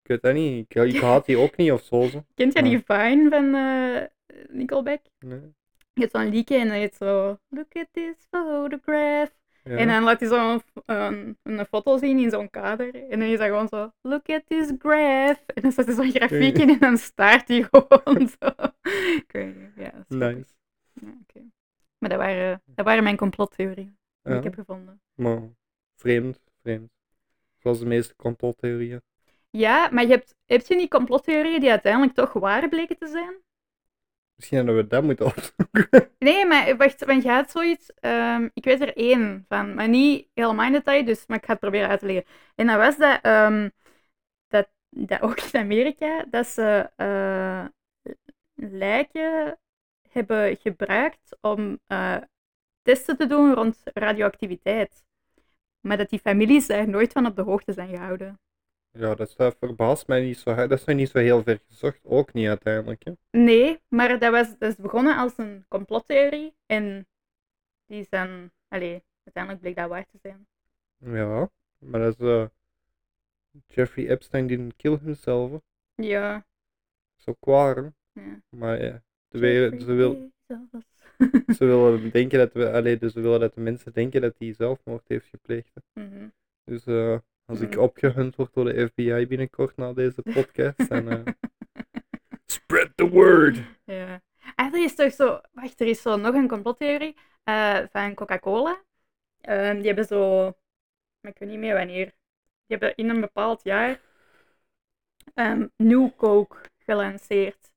Ik weet dat niet. Ik, ik haat die ook niet of zo. zo.
Kent jij
Ja.
die Vine van eh, Nickelback?
Nee.
Je hebt zo'n liedje en dan heet zo... Look at this photograph.
Ja.
En eh, dan laat hij zo'n een, een foto zien in zo'n kader. En dan is dat gewoon zo... Look at this graph. En dan staat er zo'n grafiek in en dan staart hij [laughs] gewoon zo. Ik weet niet, ja. dat is grappig.
Nice.
Ja, oké. Maar dat waren, dat waren mijn complottheorieën die
Ja,
ik heb gevonden.
Maar vreemd, vreemd. Zoals de meeste complottheorieën.
Ja, maar je hebt, heb je niet complottheorieën die uiteindelijk toch waar bleken te zijn?
Misschien dat we dat moeten [laughs] opzoeken.
Nee, maar wacht, want je had zoiets. ehm, ik weet er één van, maar niet helemaal in detail, dus, maar ik ga het proberen uit te leggen. En dat was dat, ehm, dat, dat ook in Amerika, dat ze eh, lijken hebben gebruikt om eh, testen te doen rond radioactiviteit. Maar dat die families daar nooit van op de hoogte zijn gehouden.
ja, dat, is- dat verbaast mij niet zo. Dat is nog niet zo heel ver gezocht. Ook niet uiteindelijk. Hè.
Nee, maar dat, was, dat is begonnen als een complottheorie. En die is dan, allee, uiteindelijk bleek dat waar te zijn.
Ja, maar dat is. eh, Jeffrey Epstein didn't kill himself. hè. Dat
Ja.
is ook waar. hè.
ja.
Maar ja, ze, willen- ze, wil,
Bezos.
[laughs]
[laughs]
ze, willen denken dat we, allee, dus ze willen dat de mensen denken dat hij zelfmoord heeft gepleegd. hè.
Mhm.
Dus eh, als ik
Mm.
opgehunt word door de FBI binnenkort na deze podcast,
[laughs]
dan. eh, spread the word!
ja. Ah, er is toch zo... Wacht, er is zo nog een complottheorie eh, van Coca-Cola. Ehm, die hebben zo... Maar ik weet niet meer wanneer. Die hebben in een bepaald jaar ehm, New Coke gelanceerd.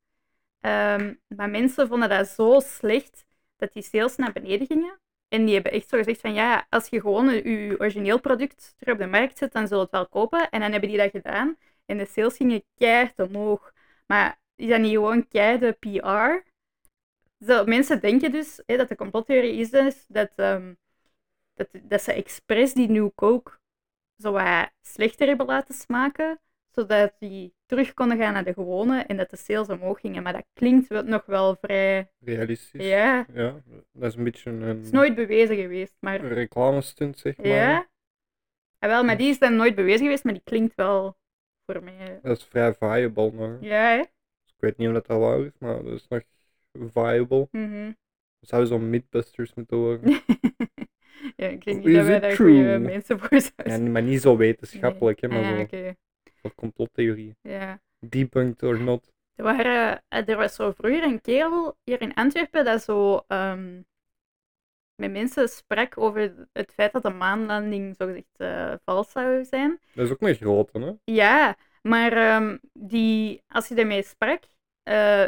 Ehm, maar mensen vonden dat zo slecht dat die sales naar beneden gingen. En die hebben echt zo gezegd van ja, als je gewoon je origineel product terug op de markt zet, dan zullen we het wel kopen. En dan hebben die dat gedaan. En de sales gingen keihard omhoog. Maar is dat niet gewoon keiharde PR? Zo, mensen denken dus hè, dat de complottheorie is dus dat, ehm, dat, dat ze expres die New Coke zo wat slechter hebben laten smaken, zodat die terug konden gaan naar de gewone en dat de sales omhoog gingen. Maar dat klinkt wel- nog wel vrij...
Realistisch.
Ja,
Ja, dat is een beetje
het is
een,
nooit bewezen geweest, maar...
een reclamestunt, zeg maar.
Ja? Ah, wel, maar die is dan nooit bewezen geweest, maar die klinkt wel voor mij...
Dat is vrij viable nog.
Ja, hè?
Dus ik weet niet of dat, dat waar is, maar dat is nog viable.
Mhm.
Dat zou zo'n Midbusters
[laughs]
moeten worden.
ja, ik eh, denk
Is
niet dat wij
it
daar
true?
goede mensen voor zijn.
Ja, maar niet zo wetenschappelijk, hè,
Nee.
maar
Ah,
zo.
oké.
Of complottheorie.
Ja.
Debunked or not.
Er, waren, eh, er was zo vroeger een kerel hier in Antwerpen dat zo ehm, met mensen sprak over het feit dat de maanlanding zogezegd eh vals zou zijn.
Dat is ook een grote, hè?
Ja, maar ehm, die, als je daarmee sprak, eh,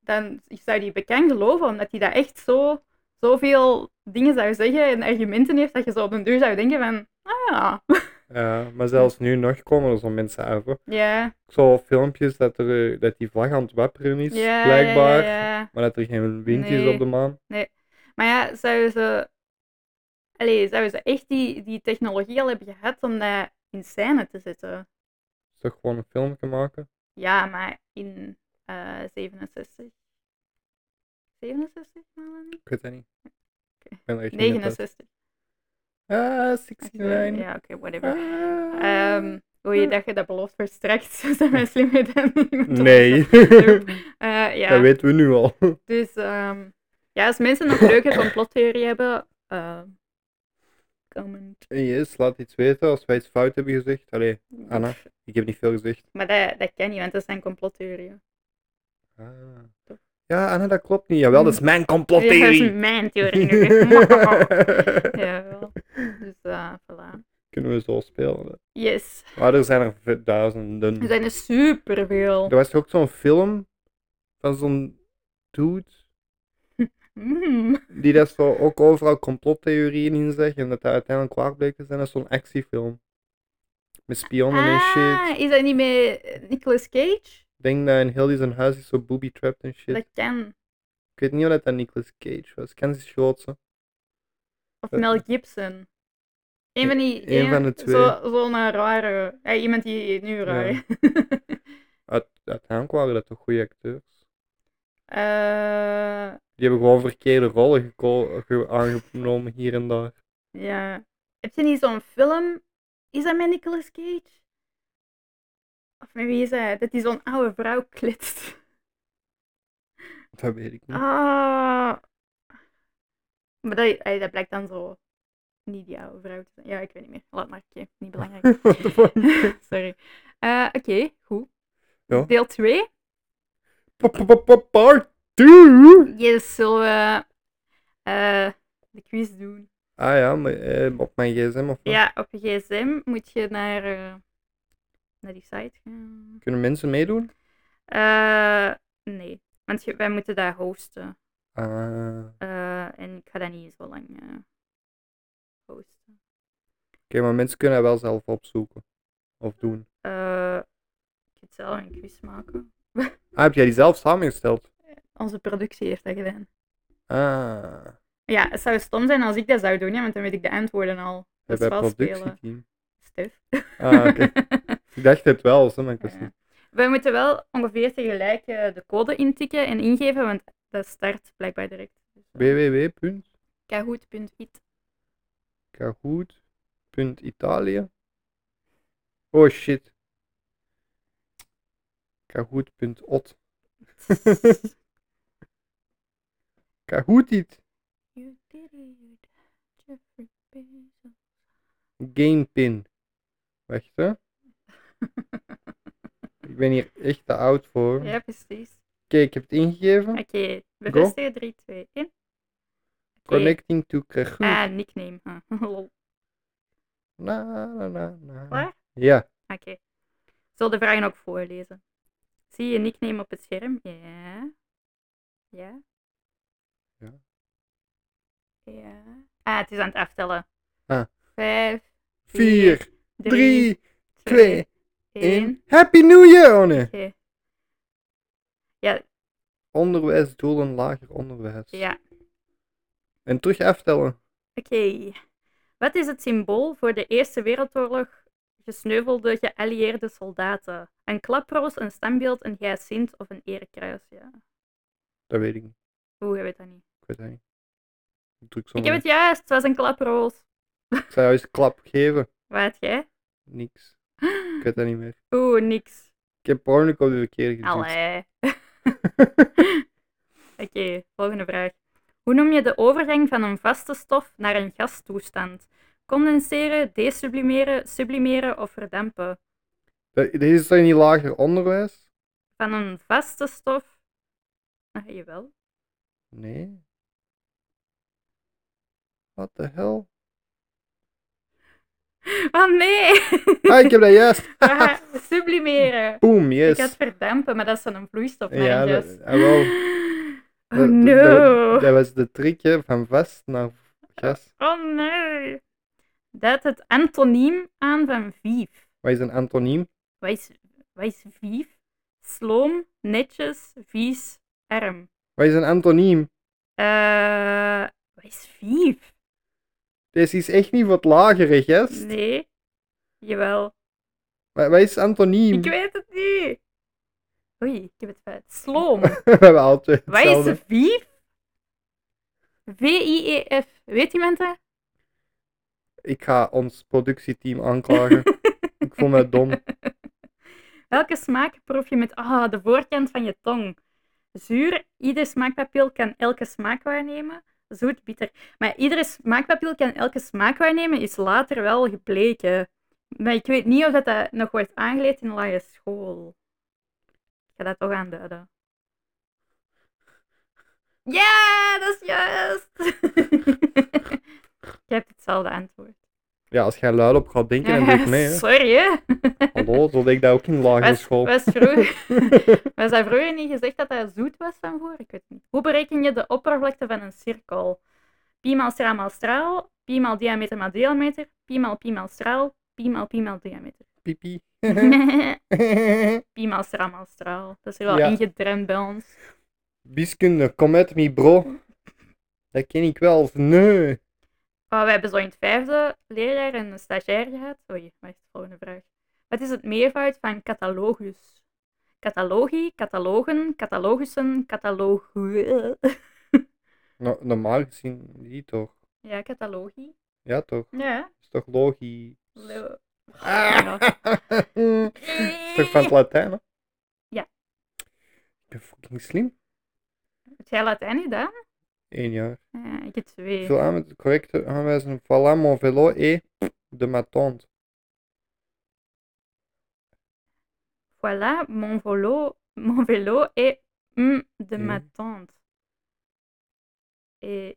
dan zou die bekend geloven, omdat hij dat echt zo, zoveel dingen zou zeggen en argumenten heeft, dat je zo op een duur zou denken van, ah ja,
Ja, Eh, maar zelfs nu nog komen er zo mensen af. Hè.
ja,
Ik zag filmpjes dat, er, eh, dat die vlag aan het wapperen is,
ja,
blijkbaar.
ja, ja.
Maar dat er geen wind is
Nee.
op de maan.
Maar ja, zouden ze, allee, zouden ze echt die, die technologie al hebben gehad om dat in scène te zetten?
Is toch gewoon een filmpje maken?
Ja, maar in eh 67. 67? maanlanding?
Ik weet het niet.
Oké.
Ik ben er echt niet op uit.
69.
Ah, 69.
Ja, oké, whatever.
Ah.
Ehm oei, dat je dat belooft voor straks. [laughs] Ze zijn wij slimmer dan iemand anders.
Nee,
[laughs]
[laughs]
Eh, ja,
dat weten we nu al. [laughs]
dus ehm, ja, als mensen nog leuke complottheorie hebben, ehm, comment.
Yes, laat iets weten als wij iets fout hebben gezegd. Allee, Anna, ik heb niet veel gezegd.
Maar dat, dat kan niet, want dat zijn complottheorieën.
Ah.
Toch?
Ja, Anna, dat klopt niet. Jawel, dat is mijn
Hmm.
complottheorie.
Dat is mijn theorie
[laughs]
nu. Jawel. Dus eh voilà.
Kunnen we zo spelen. hè.
Yes.
Maar er zijn er v- duizenden.
Er zijn er superveel.
Er was ook zo'n film van zo'n dude
Mm.
die dat zo ook overal complottheorieën in zegt en dat dat uiteindelijk waar bleek te zijn. Dat is zo'n actiefilm. Met spionnen en shit.
Ah, is dat niet met Nicolas Cage?
Ik denk dat in heel die zijn huis is zo booby trapped en shit.
Dat kan.
Ik weet niet of dat dat Nicolas Cage was. Ken ze Schotse?
Of
Dat-
Mel Gibson. Een van die.
Eén
een-
van de twee.
zo- Zo'n rare. eh, iemand die nu raar.
Ja. Uit, uiteindelijk waren dat toch goede acteurs.
[laughs] Eh,
Die hebben gewoon verkeerde rollen geko- ge- aangenomen hier en daar.
ja. Heb je niet zo'n film? Is dat met Nicolas Cage? Of met wie is dat? Dat die zo'n oude vrouw klitst.
Dat weet ik niet.
Ah. Maar dat, eh, dat blijkt dan zo. Niet die oude vrouw te zijn. Ja, ik weet niet meer. Laat maar. Oké, niet belangrijk.
[laughs] What the fuck?
Sorry. Eh, Oké, goed.
Ja.
Deel 2.
Pa- pa- pa- pa- Part 2!
Yes, zullen we eh, de quiz doen?
Ah ja, maar, eh, op mijn gsm of wat?
Ja, op je gsm moet je naar, eh, naar die site gaan.
Kunnen mensen meedoen?
Eh, nee, want je- wij moeten daar hosten.
Ah.
Eh, en ik ga dat niet zo lang eh, hosten.
Oké, maar mensen kunnen dat wel zelf opzoeken. Of doen.
Eh, ik ga zelf een quiz maken.
Ah, heb jij die zelf samengesteld?
Onze productie heeft dat gedaan.
Ah.
Ja, het zou stom zijn als ik dat zou doen, hè, want dan weet ik de antwoorden al.
Je
Dat is
bij
wel spelen.
productieteam.
Stef. [laughs]
Ah, oké. ik dacht het wel, zo, maar ik wist
Ja.
niet.
We moeten wel ongeveer tegelijk eh, de code intikken en ingeven, want dat start blijkbaar direct.
www.kahoot.italië.
Kahoot.it.
Oh shit. Kahoot.ot. [laughs] Kahootit.
You did it, Jeffrey Bezos.
Gamepin. Wacht
[laughs]
hè. Ik ben hier echt te oud voor. Oké,
Ja, precies.
ik heb het ingegeven.
Oké, bevestigen 3, 2, 1.
Connecting to Kahoot.
Ah, [laughs] nickname. huh. Lol.
Na, na, na, na.
Klaar?
Ja.
Oké. Ik zal de vragen ook voorlezen. Zie je nickname op het scherm? Ja. Ja.
Ja.
Ja. Ah, het is aan het aftellen.
Ah.
Vijf,
4, 3, 2, 1.
één.
Happy New Year, Oh, Onne!
Oké.
Onderwijs, doelen, lager onderwijs.
Ja,
En terug aftellen.
oké. Wat is het symbool voor de Eerste Wereldoorlog gesneuvelde geallieerde soldaten. Een klaproos, een standbeeld, een hyacinth of een erekruis. Ja.
Dat weet ik niet.
Oeh, je weet dat niet.
Ik weet het niet. Ik druk
Ik
zomaar.
heb het juist, het was een klaproos.
Ik zou juist een klap geven.
Wat jij?
Niks. Ik weet dat niet meer.
Oeh, niks.
Ik heb pornic op de verkeerde geduwd.
Allee. [laughs] Oké, volgende vraag. Hoe noem je de overgang van een vaste stof naar een gastoestand? Condenseren, desublimeren, sublimeren of verdampen?
Dat- Dit is toch niet lager onderwijs?
Van een vaste stof. Ah, jawel.
Nee. What the hell?
Oh
[laughs]
nee!
Ah, ik heb dat
[laughs]
juist.
Ah, sublimeren.
Boom,
Ik
yes.
had verdampen, maar dat is dan een vloeistof. maar
Ja,
een
dat-
gas.
ah, wel.
[gasps] Oh
Dat-
no!
Dat, dat was de trick hè, van vast naar gas.
Oh nee! Dat het antoniem aan van vief.
Wat is een antoniem?
Wat is, wat is vief? Sloom, netjes, vies, arm.
Wat is een antoniem?
Eh, wat is vief?
Dit is echt niet wat lagerig, yes?
Nee. Jawel.
Wat, wat is antoniem?
Ik weet het niet. Oei, ik heb het fout. Sloom.
[laughs] We hebben altijd
Wat is
hetzelfde.
vief? V-I-E-F. E Weet iemand dat?
Ik ga ons productieteam aanklagen.
[laughs]
ik voel me dom.
Welke smaak proef je met ah, de voorkant van je tong? Zuur, ieder smaakpapil kan elke smaak waarnemen. Zoet, bitter. Maar iedere smaakpapil kan elke smaak waarnemen, is later wel gebleken. Maar ik weet niet of dat, dat nog wordt aangeleerd in de lagere school. Ik ga dat toch aanduiden. Ja, dat is juist! [laughs] ik heb hetzelfde antwoord.
Ja, als jij luid op gaat denken, dan doe ik mee. Hè.
[laughs] Sorry, hè?
Hallo, zo deed ik dat ook in lagere
Was,
school.
was, vroeger, was dat vroeger niet gezegd dat dat zoet was van voor? Ik weet het niet. Hoe bereken je de oppervlakte van een cirkel? Pi maal straal maal straal, pi maal diameter maal diameter, pi maal pi maal straal, pi maal pi maal diameter.
[laughs] Pipi.
[laughs] pi maal straal maal straal. Dat is er wel
Hm. Ja.
ingedremd bij ons.
Wiskunde, kom met me, bro. Dat ken ik wel. Nee.
Oh, we hebben zo in het vijfde leerjaar een stagiair gehad. Oei, wacht, volgende vraag. Wat is het meervoud van catalogus? Catalogie, catalogen, catalogussen, catalogu...
No- normaal gezien niet, toch?
Ja, catalogie.
Ja, toch?
Ja.
is toch logisch? [laughs]
Lo-
Ah. Is
[laughs]
toch van het Latijn, hè?
nou? Ja.
Ik ben fucking slim.
Heb jij Latijn gedaan?
Eén jaar.
Ja, ik heb twee.
Vul aan met het correcte aanwijzen. Voilà mon vélo et de ma tante.
Voilà, mon volo, mon vélo et mm, de ma
Mm.
tante. Et...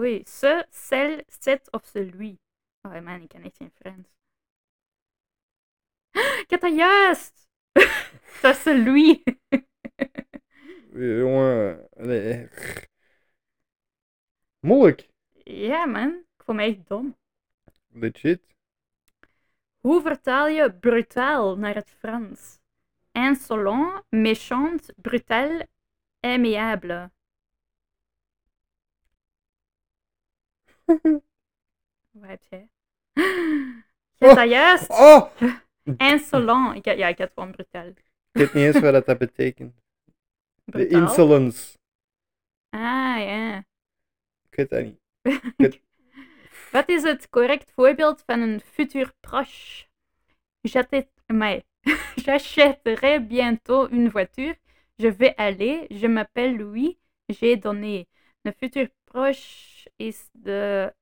Oei, ce, celle, cette of celui. Oh man, ik kan echt geen [gasps] Frans. Ik had dat [laughs] juist! dat is [laughs] celui.
Eh, Jongen. nee. Moeilijk.
ja man, ik voel me echt dom.
Legit.
Hoe vertaal je brutaal naar het Frans? Insolent, méchant, brutal, aimable. Wat heb jij? Je hebt dat juist?
Oh!
Insolent. Ik, had- ja, ik had gewoon brutaal.
Ik weet niet eens wat dat betekent. De
Brutaal?
insolence.
Ah, ja.
Ik weet dat niet.
Wat is het correct voorbeeld van een futur proche? J'achète- amai. [laughs] J'achèterai bientôt une voiture. Je vais aller. Je m'appelle Louis. J'ai donné. Een futur proche is de,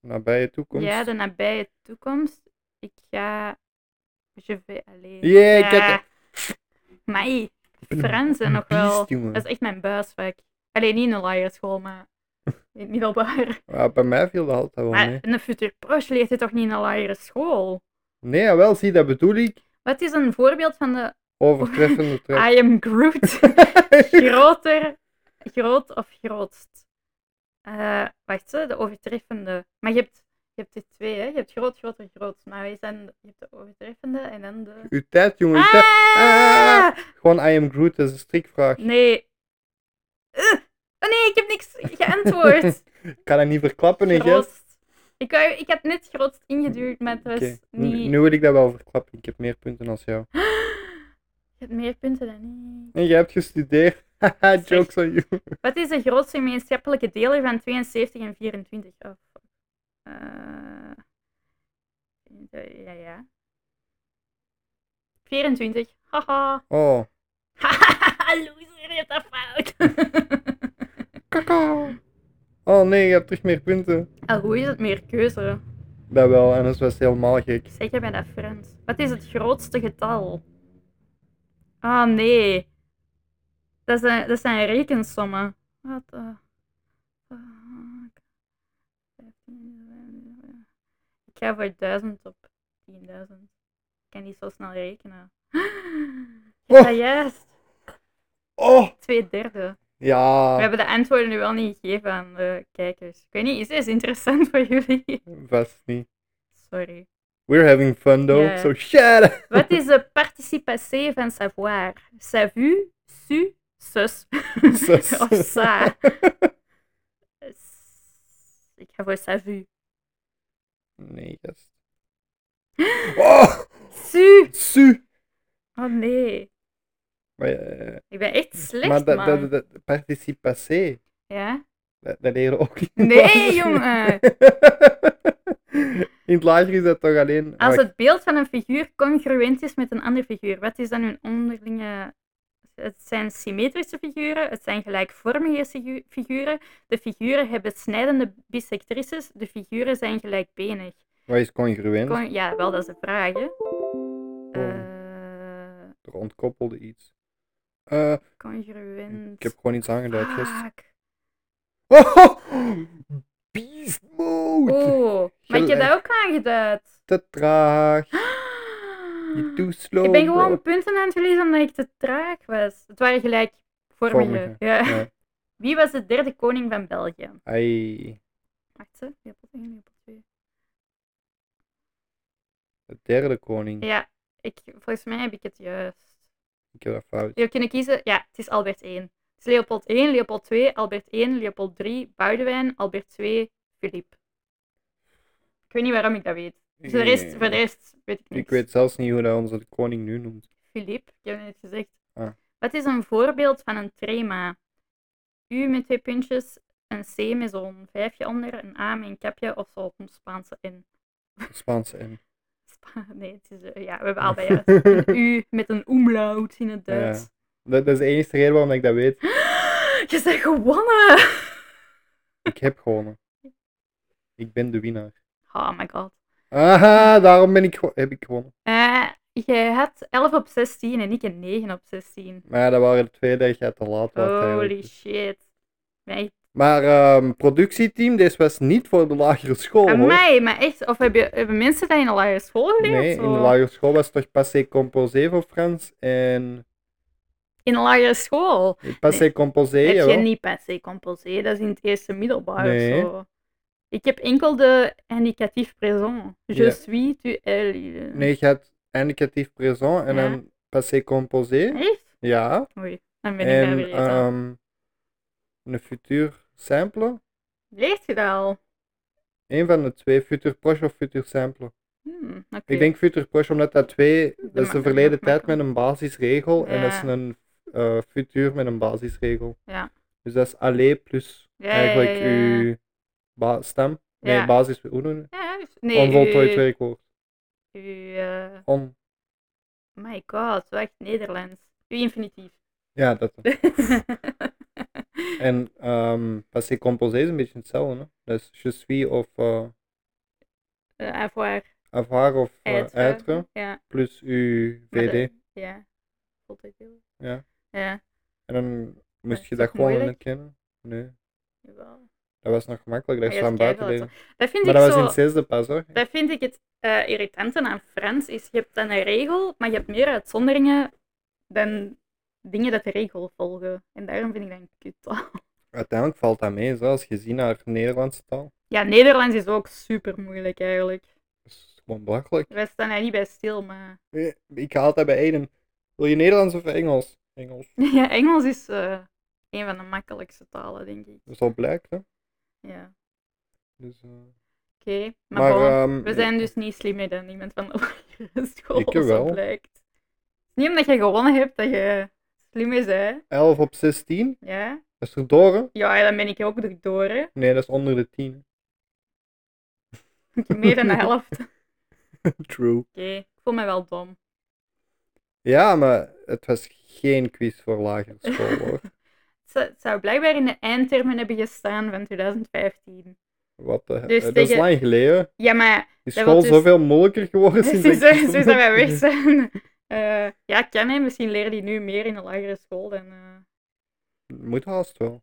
Nabije toekomst.
ja, de nabije toekomst. Ik ga. Je vais aller.
Yeah, ik heb
Mai,
ben een
Fransen nog wel.
beest, jongen.
Dat is echt mijn buisvak. Alleen niet in de lagere school,
[laughs]
maar in het middelbaar.
Ja, bij mij viel dat altijd wel
Maar
mee.
een futur proche leert je toch niet in de lagere school?
Nee, jawel, zie, dat bedoel ik.
Wat is een voorbeeld van de [laughs]
Overtreffende tref.
I am
[laughs]
Groot? Ah, Groter, groot of grootst? Eh, wacht, hè, de overtreffende. Maar je hebt, je hebt dit twee, hè? Je hebt groot, groot en groot. Maar wij zijn, je hebt de overtreffende en dan de...
Uw tijd, jongen, uw tijd.
Ah!
Gewoon I am Groot, dat is een strikvraag.
Nee. Eh, oh nee, ik heb niks geantwoord.
[laughs] Ik kan dat niet verklappen, hè, gast.
Grootst. Ik, wou- ik heb net groot ingeduwd, maar het was
Oké, nu-
niet...
Nu wil ik dat wel verklappen. Ik heb meer punten dan jou.
Je hebt meer punten dan ik.
En jij hebt gestudeerd. [laughs] Haha,
Zeg.
jokes on you.
Wat is de grootste gemeenschappelijke deler van 72 en 24? Oh, fuck. Eh, eh, ja, ja. 24. Haha. [laughs]
Oh,
Haha, loser, je hebt dat fout.
kakao. Oh nee, je hebt terug meer punten.
Al Ah, hoe is het meer keuze?
Dat wel, en dat was helemaal gek.
Zeg je bij dat Frans. Wat is het grootste getal? Ah, nee. Dat zijn, dat zijn rekensommen. Wat de fuck. Ik ga voor 1000 op 10.000. Ik kan niet zo snel rekenen. [gasps] Ja,
Oh.
juist.
Oh!
Twee derde. We
Ja,
hebben de antwoorden nu wel niet gegeven aan de kijkers. Ik weet niet, is dit interessant voor jullie? [laughs]
vast niet.
Sorry.
We're having fun though,
Ja.
so shut up.
Wat is de participatie van savoir? Savu, su, sus.
Sus.
[laughs] of sa. S- Ik ga voor savu.
Nee, gast. Oh!
Su.
Su!
Oh nee.
Maar, eh,
Ik ben echt slecht,
maar dat,
man.
dat, dat, dat participatie,
Ja?
dat, dat leren we ook niet. [laughs]
Nee, jongen.
In het lager is dat toch alleen...
Als
wacht.
het beeld van een figuur congruent is met een andere figuur, wat is dan hun onderlinge... Het zijn symmetrische figuren, het zijn gelijkvormige sigu- figuren, de figuren hebben snijdende bisectrices, de figuren zijn gelijkbenig.
Wat is congruent?
Kon- ja, wel, dat is de vraag, hè.
Oh.
Eh,
Er ontkoppelde iets. Eh,
congruent.
ik heb gewoon iets aangeduid gisteren. [laughs]
Fuck.
Beast mode!
Ah. Oh, maar ik heb
Gelijk.
dat ook aangeduid.
Te traag. Je too slow,
[gasps] Ik ben
bro.
gewoon punten aan het verliezen omdat ik te traag was. Het waren gelijk vormige.
Vormige,
[laughs] Ja.
ja.
Wie was de derde koning van België?
Ai,
Wacht, hè. Leopold één, Leopold twee.
de derde koning.
Ja, ik, volgens mij heb ik het juist.
Ik heb dat fout.
Je kunnen kiezen? Ja, het is Albert 1. Het is Leopold 1, Leopold 2, Albert 1, Leopold 3, Boudewijn, Albert 2, Filip. Ik weet niet waarom ik dat weet. Dus de rest, voor de rest weet ik niet.
Ik weet zelfs niet hoe dat onze koning nu noemt.
Filip, ik heb het net gezegd.
Ah.
Wat is een voorbeeld van een trema? U met twee puntjes, een C met zo'n vijfje onder, een A met een kapje of zo'n Spaanse N.
Spaanse en.
Spa- nee, het is, eh, ja, we hebben allebei juist. Een U met een umlaut in het Duits.
[laughs] Dat, dat is de enige reden waarom ik dat weet.
Je bent gewonnen!
Ik heb gewonnen. Ik ben de winnaar.
Oh my god.
Aha, daarom ben ik gewo- heb ik gewonnen.
Eh, jij had 11 op 16 en ik een 9 op 16.
Maar ja, dat waren de twee dat je te laat was.
Holy
eigenlijk.
shit. Mij,
Maar ehm, productieteam, deze was niet voor de lagere school Oh, hoor.
mij, maar echt. Of hebben, hebben mensen dat in de lagere school geleerd?
Nee, in
Zo?
de lagere school was toch passé composé voor Frans en
In de lagere school.
passé composé,
heb
jawel.
je niet passé composé, dat is in het eerste middelbaar
Nee.
of zo. Ik heb enkel de indicatief présent. Je
Ja.
suis, tu, elle.
Nee, je had indicatief présent en
Ja.
dan passé composé.
Echt?
Ja.
Oei, dan ben ik daar
En
weer eens aan.
ehm, een futur sample.
Leert je dat al?
Eén van de twee, futur proche of futur sample.
Hmm, oké.
Ik denk futur proche omdat dat twee, dat
ma-
is de verleden
dat
tijd
maakt
met een basisregel en dat is
Ja.
een eh futur met een basisregel.
Ja.
Dus dat is alleen plus
Ja, ja,
eigenlijk
ja, ja.
uw ba- stem. Nee,
Ja.
basis, hoe noem je het?
Ja, dus- nee,
Onvoltooid
u,
werkwoord.
u, eh,
On.
my god, wacht, Nederlands. Uw
[laughs]
infinitief. Eh,
Ja, dat. En ehm passé composé is een beetje hetzelfde. Hè? Dus je suis of eh
Eh, avoir,
avoir of eh,
être.
être
Ja,
plus uw
maar
vd.
dat- ja. Voltooid deel.
Ja.
Ja,
En dan moest
is
je
dat
dat gewoon
moeilijk?
niet kennen. Nee,
jawel.
dat was nog gemakkelijk. Dat
Maar Ah, je
staan
hebt
buiten
keiveel
leren.
Dat vind
Maar
ik
dat was
zo...
in het zesde pas hoor.
Dat vind ik het eh irritante aan Frans, is je hebt dan een regel, maar je hebt meer uitzonderingen dan dingen dat de regel volgen. En daarom vind ik dat een kuttaal.
Uiteindelijk valt dat mee, zo, als je ziet naar Nederlandse taal.
Ja, Nederlands is ook super moeilijk eigenlijk.
Dat is gewoon belachelijk.
Wij staan daar niet bij stil, maar... [laughs]
Eh, Ik haal dat bij Aiden. Wil je Nederlands of Engels? Engels.
Ja, Engels is eh, een
Dus
van de makkelijkste talen, denk ik.
Dat is al blijkt, hè?
Ja.
Dus, eh,
Oké, maar,
Maar,
bon,
ehm,
we zijn dus niet slimmer dan iemand van de lagere [laughs] school,
Ik
zo
wel.
blijkt. Het is niet omdat je gewonnen hebt dat je slimmer bent,
11 op 16.
ja?
Dat is toch door, hè?
Ja, dan ben ik ook door door, hè.
Nee, dat is onder de 10.
Ik heb meer
[laughs]
dan de helft. Oké,
True.
ik voel me wel dom.
Ja, maar het was geen quiz voor lagere school,
[laughs]
hoor.
Het zou- Het zou blijkbaar in de eindtermen hebben gestaan van 2015.
Wat de
Dus
eh, Dat is
tegen-
lang geleden.
Ja, maar
[laughs]
dus,
Is
Dat
school
was dus-
zoveel moeilijker
[laughs]
geworden sinds
sinds,
ik-
sinds dat wij weg zijn... [laughs] eh, ja, kan hè. Misschien leren die nu meer in de lagere school dan... eh,
[laughs] Moet haast wel.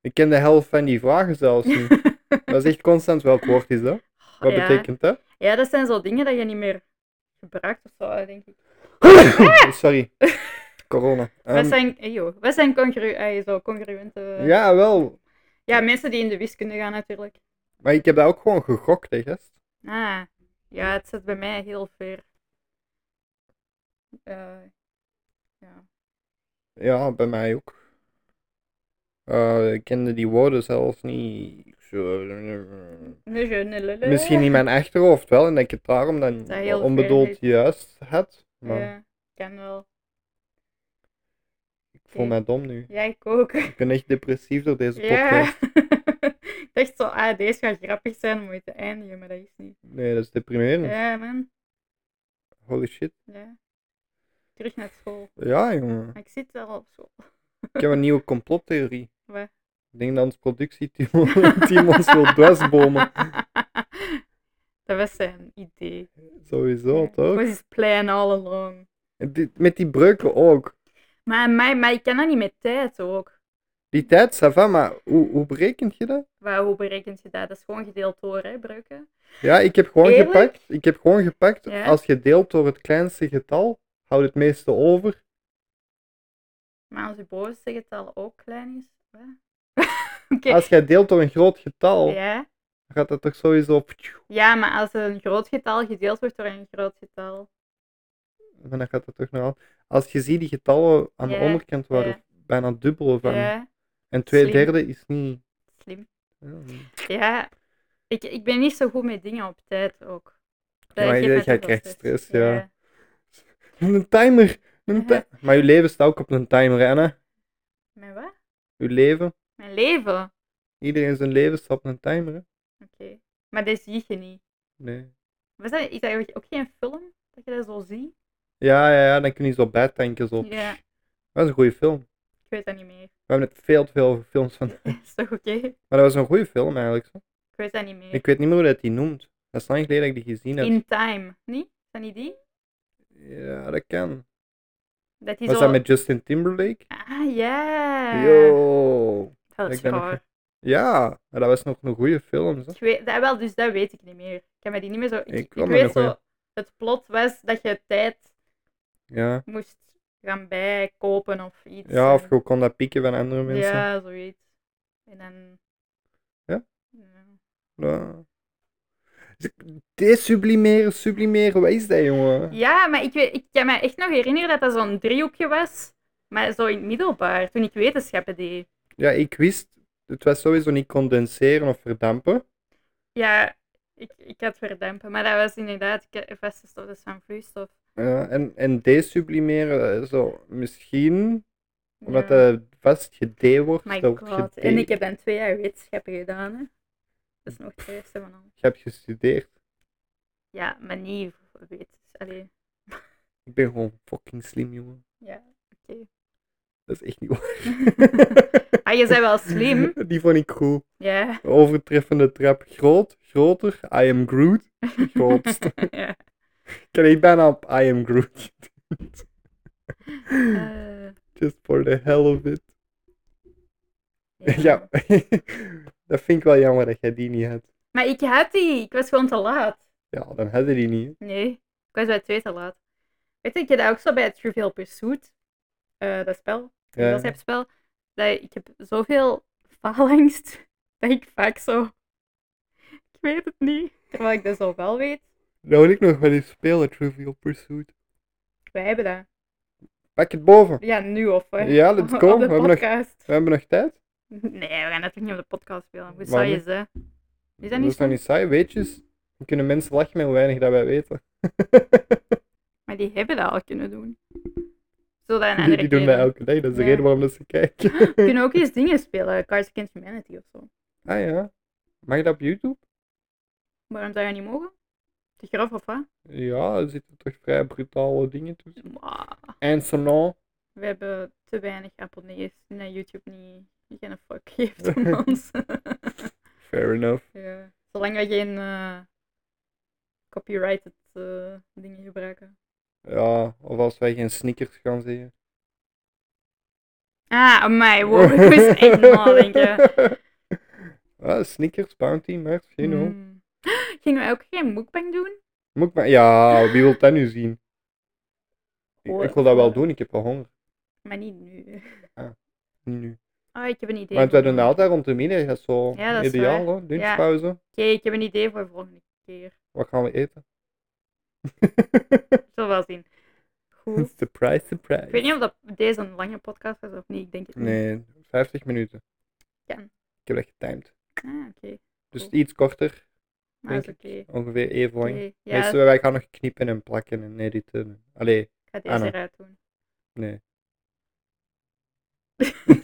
Ik ken de helft van die vragen zelfs
[laughs]
niet. Dat is echt constant. Welk woord is dat? Wat
ja.
betekent dat?
Ja, dat zijn zo dingen dat je niet meer gebruikt of zo, denk ik.
Oh,
[laughs]
Sorry. Corona.
wij
Ehm,
zijn, eh, joh, wij zijn congru eh, zo, congruente...
ja, wel.
Ja, mensen die in de wiskunde gaan natuurlijk.
Maar ik heb dat ook gewoon gegokt, hè, gast.
Ah, ja, het zit bij mij heel ver. Eh, ja.
Ja, bij mij ook. Eh, ik kende die woorden zelfs niet. Zo-
Nee, je- nee, lele.
Misschien in mijn achterhoofd wel, en dat ik het daarom dan
Dat heel ver
onbedoeld
is.
juist had. Maar
Ja, kan wel.
ik voel mij dom nu.
Ja, ik ook. [laughs]
Ik ben echt depressief door deze
Ja.
podcast.
[laughs] Ik dacht zo, ah, deze gaat grappig zijn om mee te eindigen, maar dat is niet.
Nee, dat is deprimerend.
Ja, man.
Holy shit.
Ja. Terug naar school.
Ja, jongen.
Maar ik zit wel op school.
Ik heb een nieuwe complottheorie.
Wat?
Ik denk dat ons productieteam [laughs] team ons
[laughs]
wil dwarsbomen.
Dat was zijn idee.
Sowieso,
Dat
toch?
was his plan all along.
En dit- Met die breuken ook.
Maar, maar, maar ik kan dat niet met tijd ook.
Die tijd, ça va, maar hoe, hoe berekent je dat?
Waar, hoe berekent je dat? Dat is gewoon gedeeld door, hè, breuken.
Ja, ik heb gewoon
Eerlijk?
gepakt. Ik heb gewoon gepakt.
Ja?
Als je deelt door het kleinste getal, houdt het meeste over.
Maar als je bovenste getal ook klein is. Hè? Oké.
Als jij deelt door een groot getal,
Ja.
gaat dat toch sowieso op.
ja, maar als een groot getal gedeeld wordt door een groot getal.
Maar dan gaat dat toch naar. Als je ziet, die getallen aan de
Ja,
onderkant waren
ja.
bijna dubbel van.
Ja,
En twee
slim.
derde is niet.
slim.
Ja,
Ja, ik, ik ben niet zo goed met dingen op tijd ook.
Ja, maar
geeft
jij-
mij
jij
te veel
krijgt stress, ja. Een timer. Een
Ja.
ti- Maar uw leven staat ook op een timer, hè, Anna.
Mijn wat?
Uw leven.
Mijn leven.
Iedereen zijn leven staat op een timer. hè?
Oké. Maar dat zie je niet.
Nee.
Was dat, is dat ook geen film? Dat je dat zo ziet?
Ja, ja, ja, dan kun je zo bijtanken. Zo.
Ja.
Dat is een goede film.
Ik weet dat niet meer. [laughs]
We hebben net veel te veel films van.
Is toch oké?
Maar dat was een goede film eigenlijk. Zo.
Ik weet dat niet meer.
Ik weet niet meer hoe dat die noemt. Dat is lang geleden dat ik die gezien heb.
In Time. Niet? Is dat niet die?
Ja, dat kan.
Dat is
Was dat met Justin Timberlake?
Ah, ja.
Yo.
Dat is
Ik ben nog-
waar.
Ja, maar dat was nog een goede film. Zo.
Ik weet, dat, wel, dus dat weet ik niet meer. Ik kan me die niet meer zo... Ik,
Ik
ik
kan me
weet
nog
zo...
wel-
Het plot was dat je tijd
Ja.
moest gaan bijkopen of iets.
ja, of
en-
je kon dat pieken van andere mensen.
Ja, zoiets. En dan...
Ja?
Ja.
Ja. Desublimeren, sublimeren, wat is dat, jongen?
Ja, maar ik, weet, ik kan me echt nog herinneren dat dat zo'n driehoekje was. Maar zo in het middelbaar, toen ik wetenschappen deed.
Ja, ik wist, het was sowieso niet condenseren of verdampen.
Ja, ik, ik had verdampen. Maar dat was inderdaad ke- vaste stof, dat is van vloeistof.
Ja, en, en desublimeren, eh, zo, misschien, omdat eh,
Ja.
dat vast ged wordt.
My
dat wordt
god.
ged.
En ik heb dan twee jaar wetenschappen gedaan, hè. Dat is nog het eerste van al.
Je hebt gestudeerd.
Ja, maar niet voor wetens. Allee,
Ik ben gewoon fucking slim, jongen.
ja, oké.
Dat is echt niet waar.
Ah, je bent wel [laughs]
[laughs]
slim.
Die vond ik goed.
Ja.
Overtreffende trap. Groot, groter. I am Groot. Grootste.
[laughs] ja.
Ik kan echt bijna op I am Groot. [laughs]
Eh,
Just for the hell of it. [laughs]
ja.
Ja, [laughs] dat vind ik wel jammer dat jij die niet had.
Maar ik had die. Ik was gewoon te laat.
Ja, dan hadden die niet. hè.
Nee, ik was bij twee te laat. Weet je, ik heb dat ook zo bij het Trivial Pursuit, eh, dat spel,
Ja.
dat spel, dat ik heb zoveel faalangst, [laughs] dat ik vaak zo, ik weet het niet, terwijl ik dat zo wel weet.
Dat wil ik nog wel eens spelen, Trivial Pursuit.
Wij hebben dat.
Pak het boven.
Ja, nu of eh,
Ja, let's
op-
go.
Op de
We hebben nog-
podcast.
We hebben nog tijd.
Nee, we gaan natuurlijk niet op de podcast spelen. Hoe
Waarom
saai
niet?
is dat? Is dat
Dat
niet
is
zo?
nou niet saai, weetjes. Dan kunnen mensen lachen met hoe weinig dat wij weten.
Ah,
[laughs]
Maar die hebben dat al kunnen doen. Zodat een
die,
andere
die doen dat
keer-
elke dag, dat is de
Ja.
reden waarom dat ze
[laughs]
kijken.
We kunnen ook eens dingen spelen, Cards Against Humanity of zo.
ah ja. Mag je dat op YouTube?
Waarom zou je niet mogen? Te grof of wat?
Ja, er zitten toch vrij brutale dingen tussen.
Maar
En sonant.
we hebben te weinig abonnees en dat YouTube niet, niet geen fuck
[laughs]
geeft om ons.
Fair enough.
ja. Zolang we geen eh, copyrighted eh, dingen gebruiken.
Ja, of als wij geen sneakers gaan zeggen.
Ah, amai, wow, ik moest echt nadenken.
[laughs] Ah, sneakers, bounty, maar you know.
Hmm. [gasps] Gingen wij ook geen mukbang doen?
Moet ik maar... Ja, wie wil dat nu zien? Ik,
Hoor,
ik wil dat wel
hoor.
doen, ik heb wel honger.
Maar niet nu.
Niet nu.
Ah, ik heb een idee.
Want
voor
wij doen dat
volgende-
altijd rond de middag, dat is zo
Ja, dat is
ideaal,
waar.
hoor. lunchpauze.
Oké, ik heb een idee voor de volgende keer.
Wat gaan we eten?
Zullen we wel zien. Goed.
[laughs] surprise, surprise.
Ik weet niet of dat deze een lange podcast was of niet. Ik denk het niet.
Nee, 50 minuten.
Kan.
Ik heb dat getimed.
Ah, oké.
Dus
Cool.
iets korter,
Maar dat is
Denk
oké.
ongeveer even lang.
Oké, Ja,
Meestal, wij gaan nog knippen en plakken en editen. Allee,
ik ga deze
Anna.
eruit doen.
nee.
[laughs]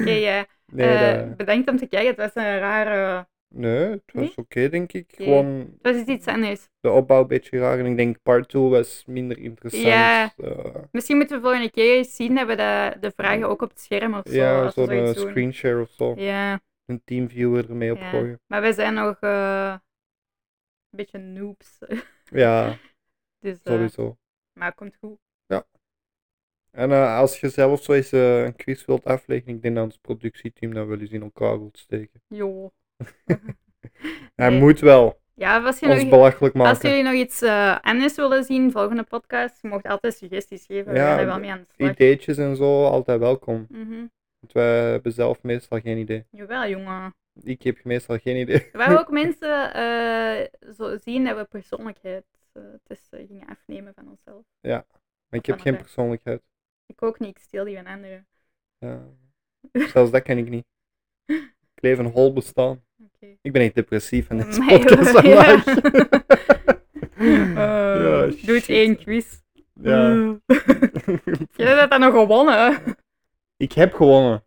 Oké, ja.
[laughs] nee,
eh,
dat-
bedankt om te kijken. Het was een rare...
nee, het was
nee?
oké, denk ik.
Oké.
Gewoon
Het was iets- iets anders.
de opbouw een beetje raar. En ik denk part 2 was minder interessant.
Ja.
Eh,
Misschien moeten we volgende keer eens zien dat we de, de vragen ook op het scherm of zo.
ja,
als we
zo'n eh,
zoiets doen.
screenshare of zo.
Ja,
Een teamviewer ermee
ja.
opgooien.
Maar we zijn nog eh, een beetje noobs.
Ja,
dus, eh,
sowieso.
maar het komt goed.
En eh, als je zelf zo eens eh, een quiz wilt afleggen, ik denk dat ons productieteam dat wel eens in elkaar wilt steken.
Jo.
Hij
Nee.
moet wel
Ja, was je nog...
ons belachelijk
Als
maken.
jullie nog iets eh, anders willen zien, volgende podcast, je mag altijd suggesties geven. we
Ja,
gaan daar wel
de-
mee aan de slag.
Ideetjes en zo, altijd welkom.
Mhm.
Want wij hebben zelf meestal geen idee.
Jawel, jongen.
Ik heb meestal geen idee. [laughs]
Waar we ook mensen eh, zo zien dat we persoonlijkheidstesten gingen afnemen van onszelf.
Maar ik heb
Van
geen
elkaar.
persoonlijkheid.
Ik ook niet, ik steel die van anderen. [laughs]
Ja. Zelfs dat ken ik niet. Ik leef een hol bestaan.
Oké.
Ik ben echt depressief
[laughs]
en dit [laughs]
Mij
podcast
wel,
aan
ja. [laughs]
Ja,
Eh, doe het
shit.
één quiz. [laughs]
Ja.
Eh, Jij hebt dat nog gewonnen.
[laughs] Ik heb gewonnen.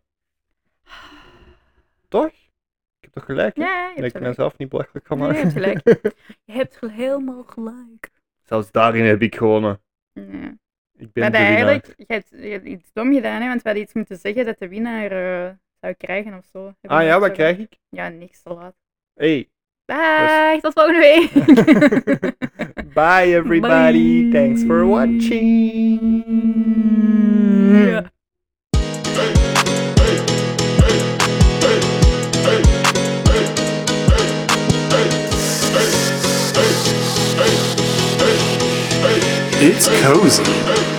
Toch? Ik heb toch gelijk? hè?
Ja, je
dat
hebt
ik
gelijk.
mezelf niet belachelijk kan
Nee, je
maken.
hebt gelijk. Je hebt gel- helemaal gelijk.
[laughs] Zelfs daarin heb ik gewonnen.
Nee.
Ik
We
ben de
hadden
winnaar.
eigenlijk je hebt, je hebt iets dom gedaan, hè, want we hadden iets moeten zeggen dat de winnaar eh, zou krijgen of zo. Hebben
Ah
we
ja,
niet
wat
zo-
krijg ik?
Ja, niks te laat.
Hey.
Dag, tot volgende
[laughs]
week. [laughs]
Bye
Bye.
everybody. Thanks for watching.
yeah.
It's cozy.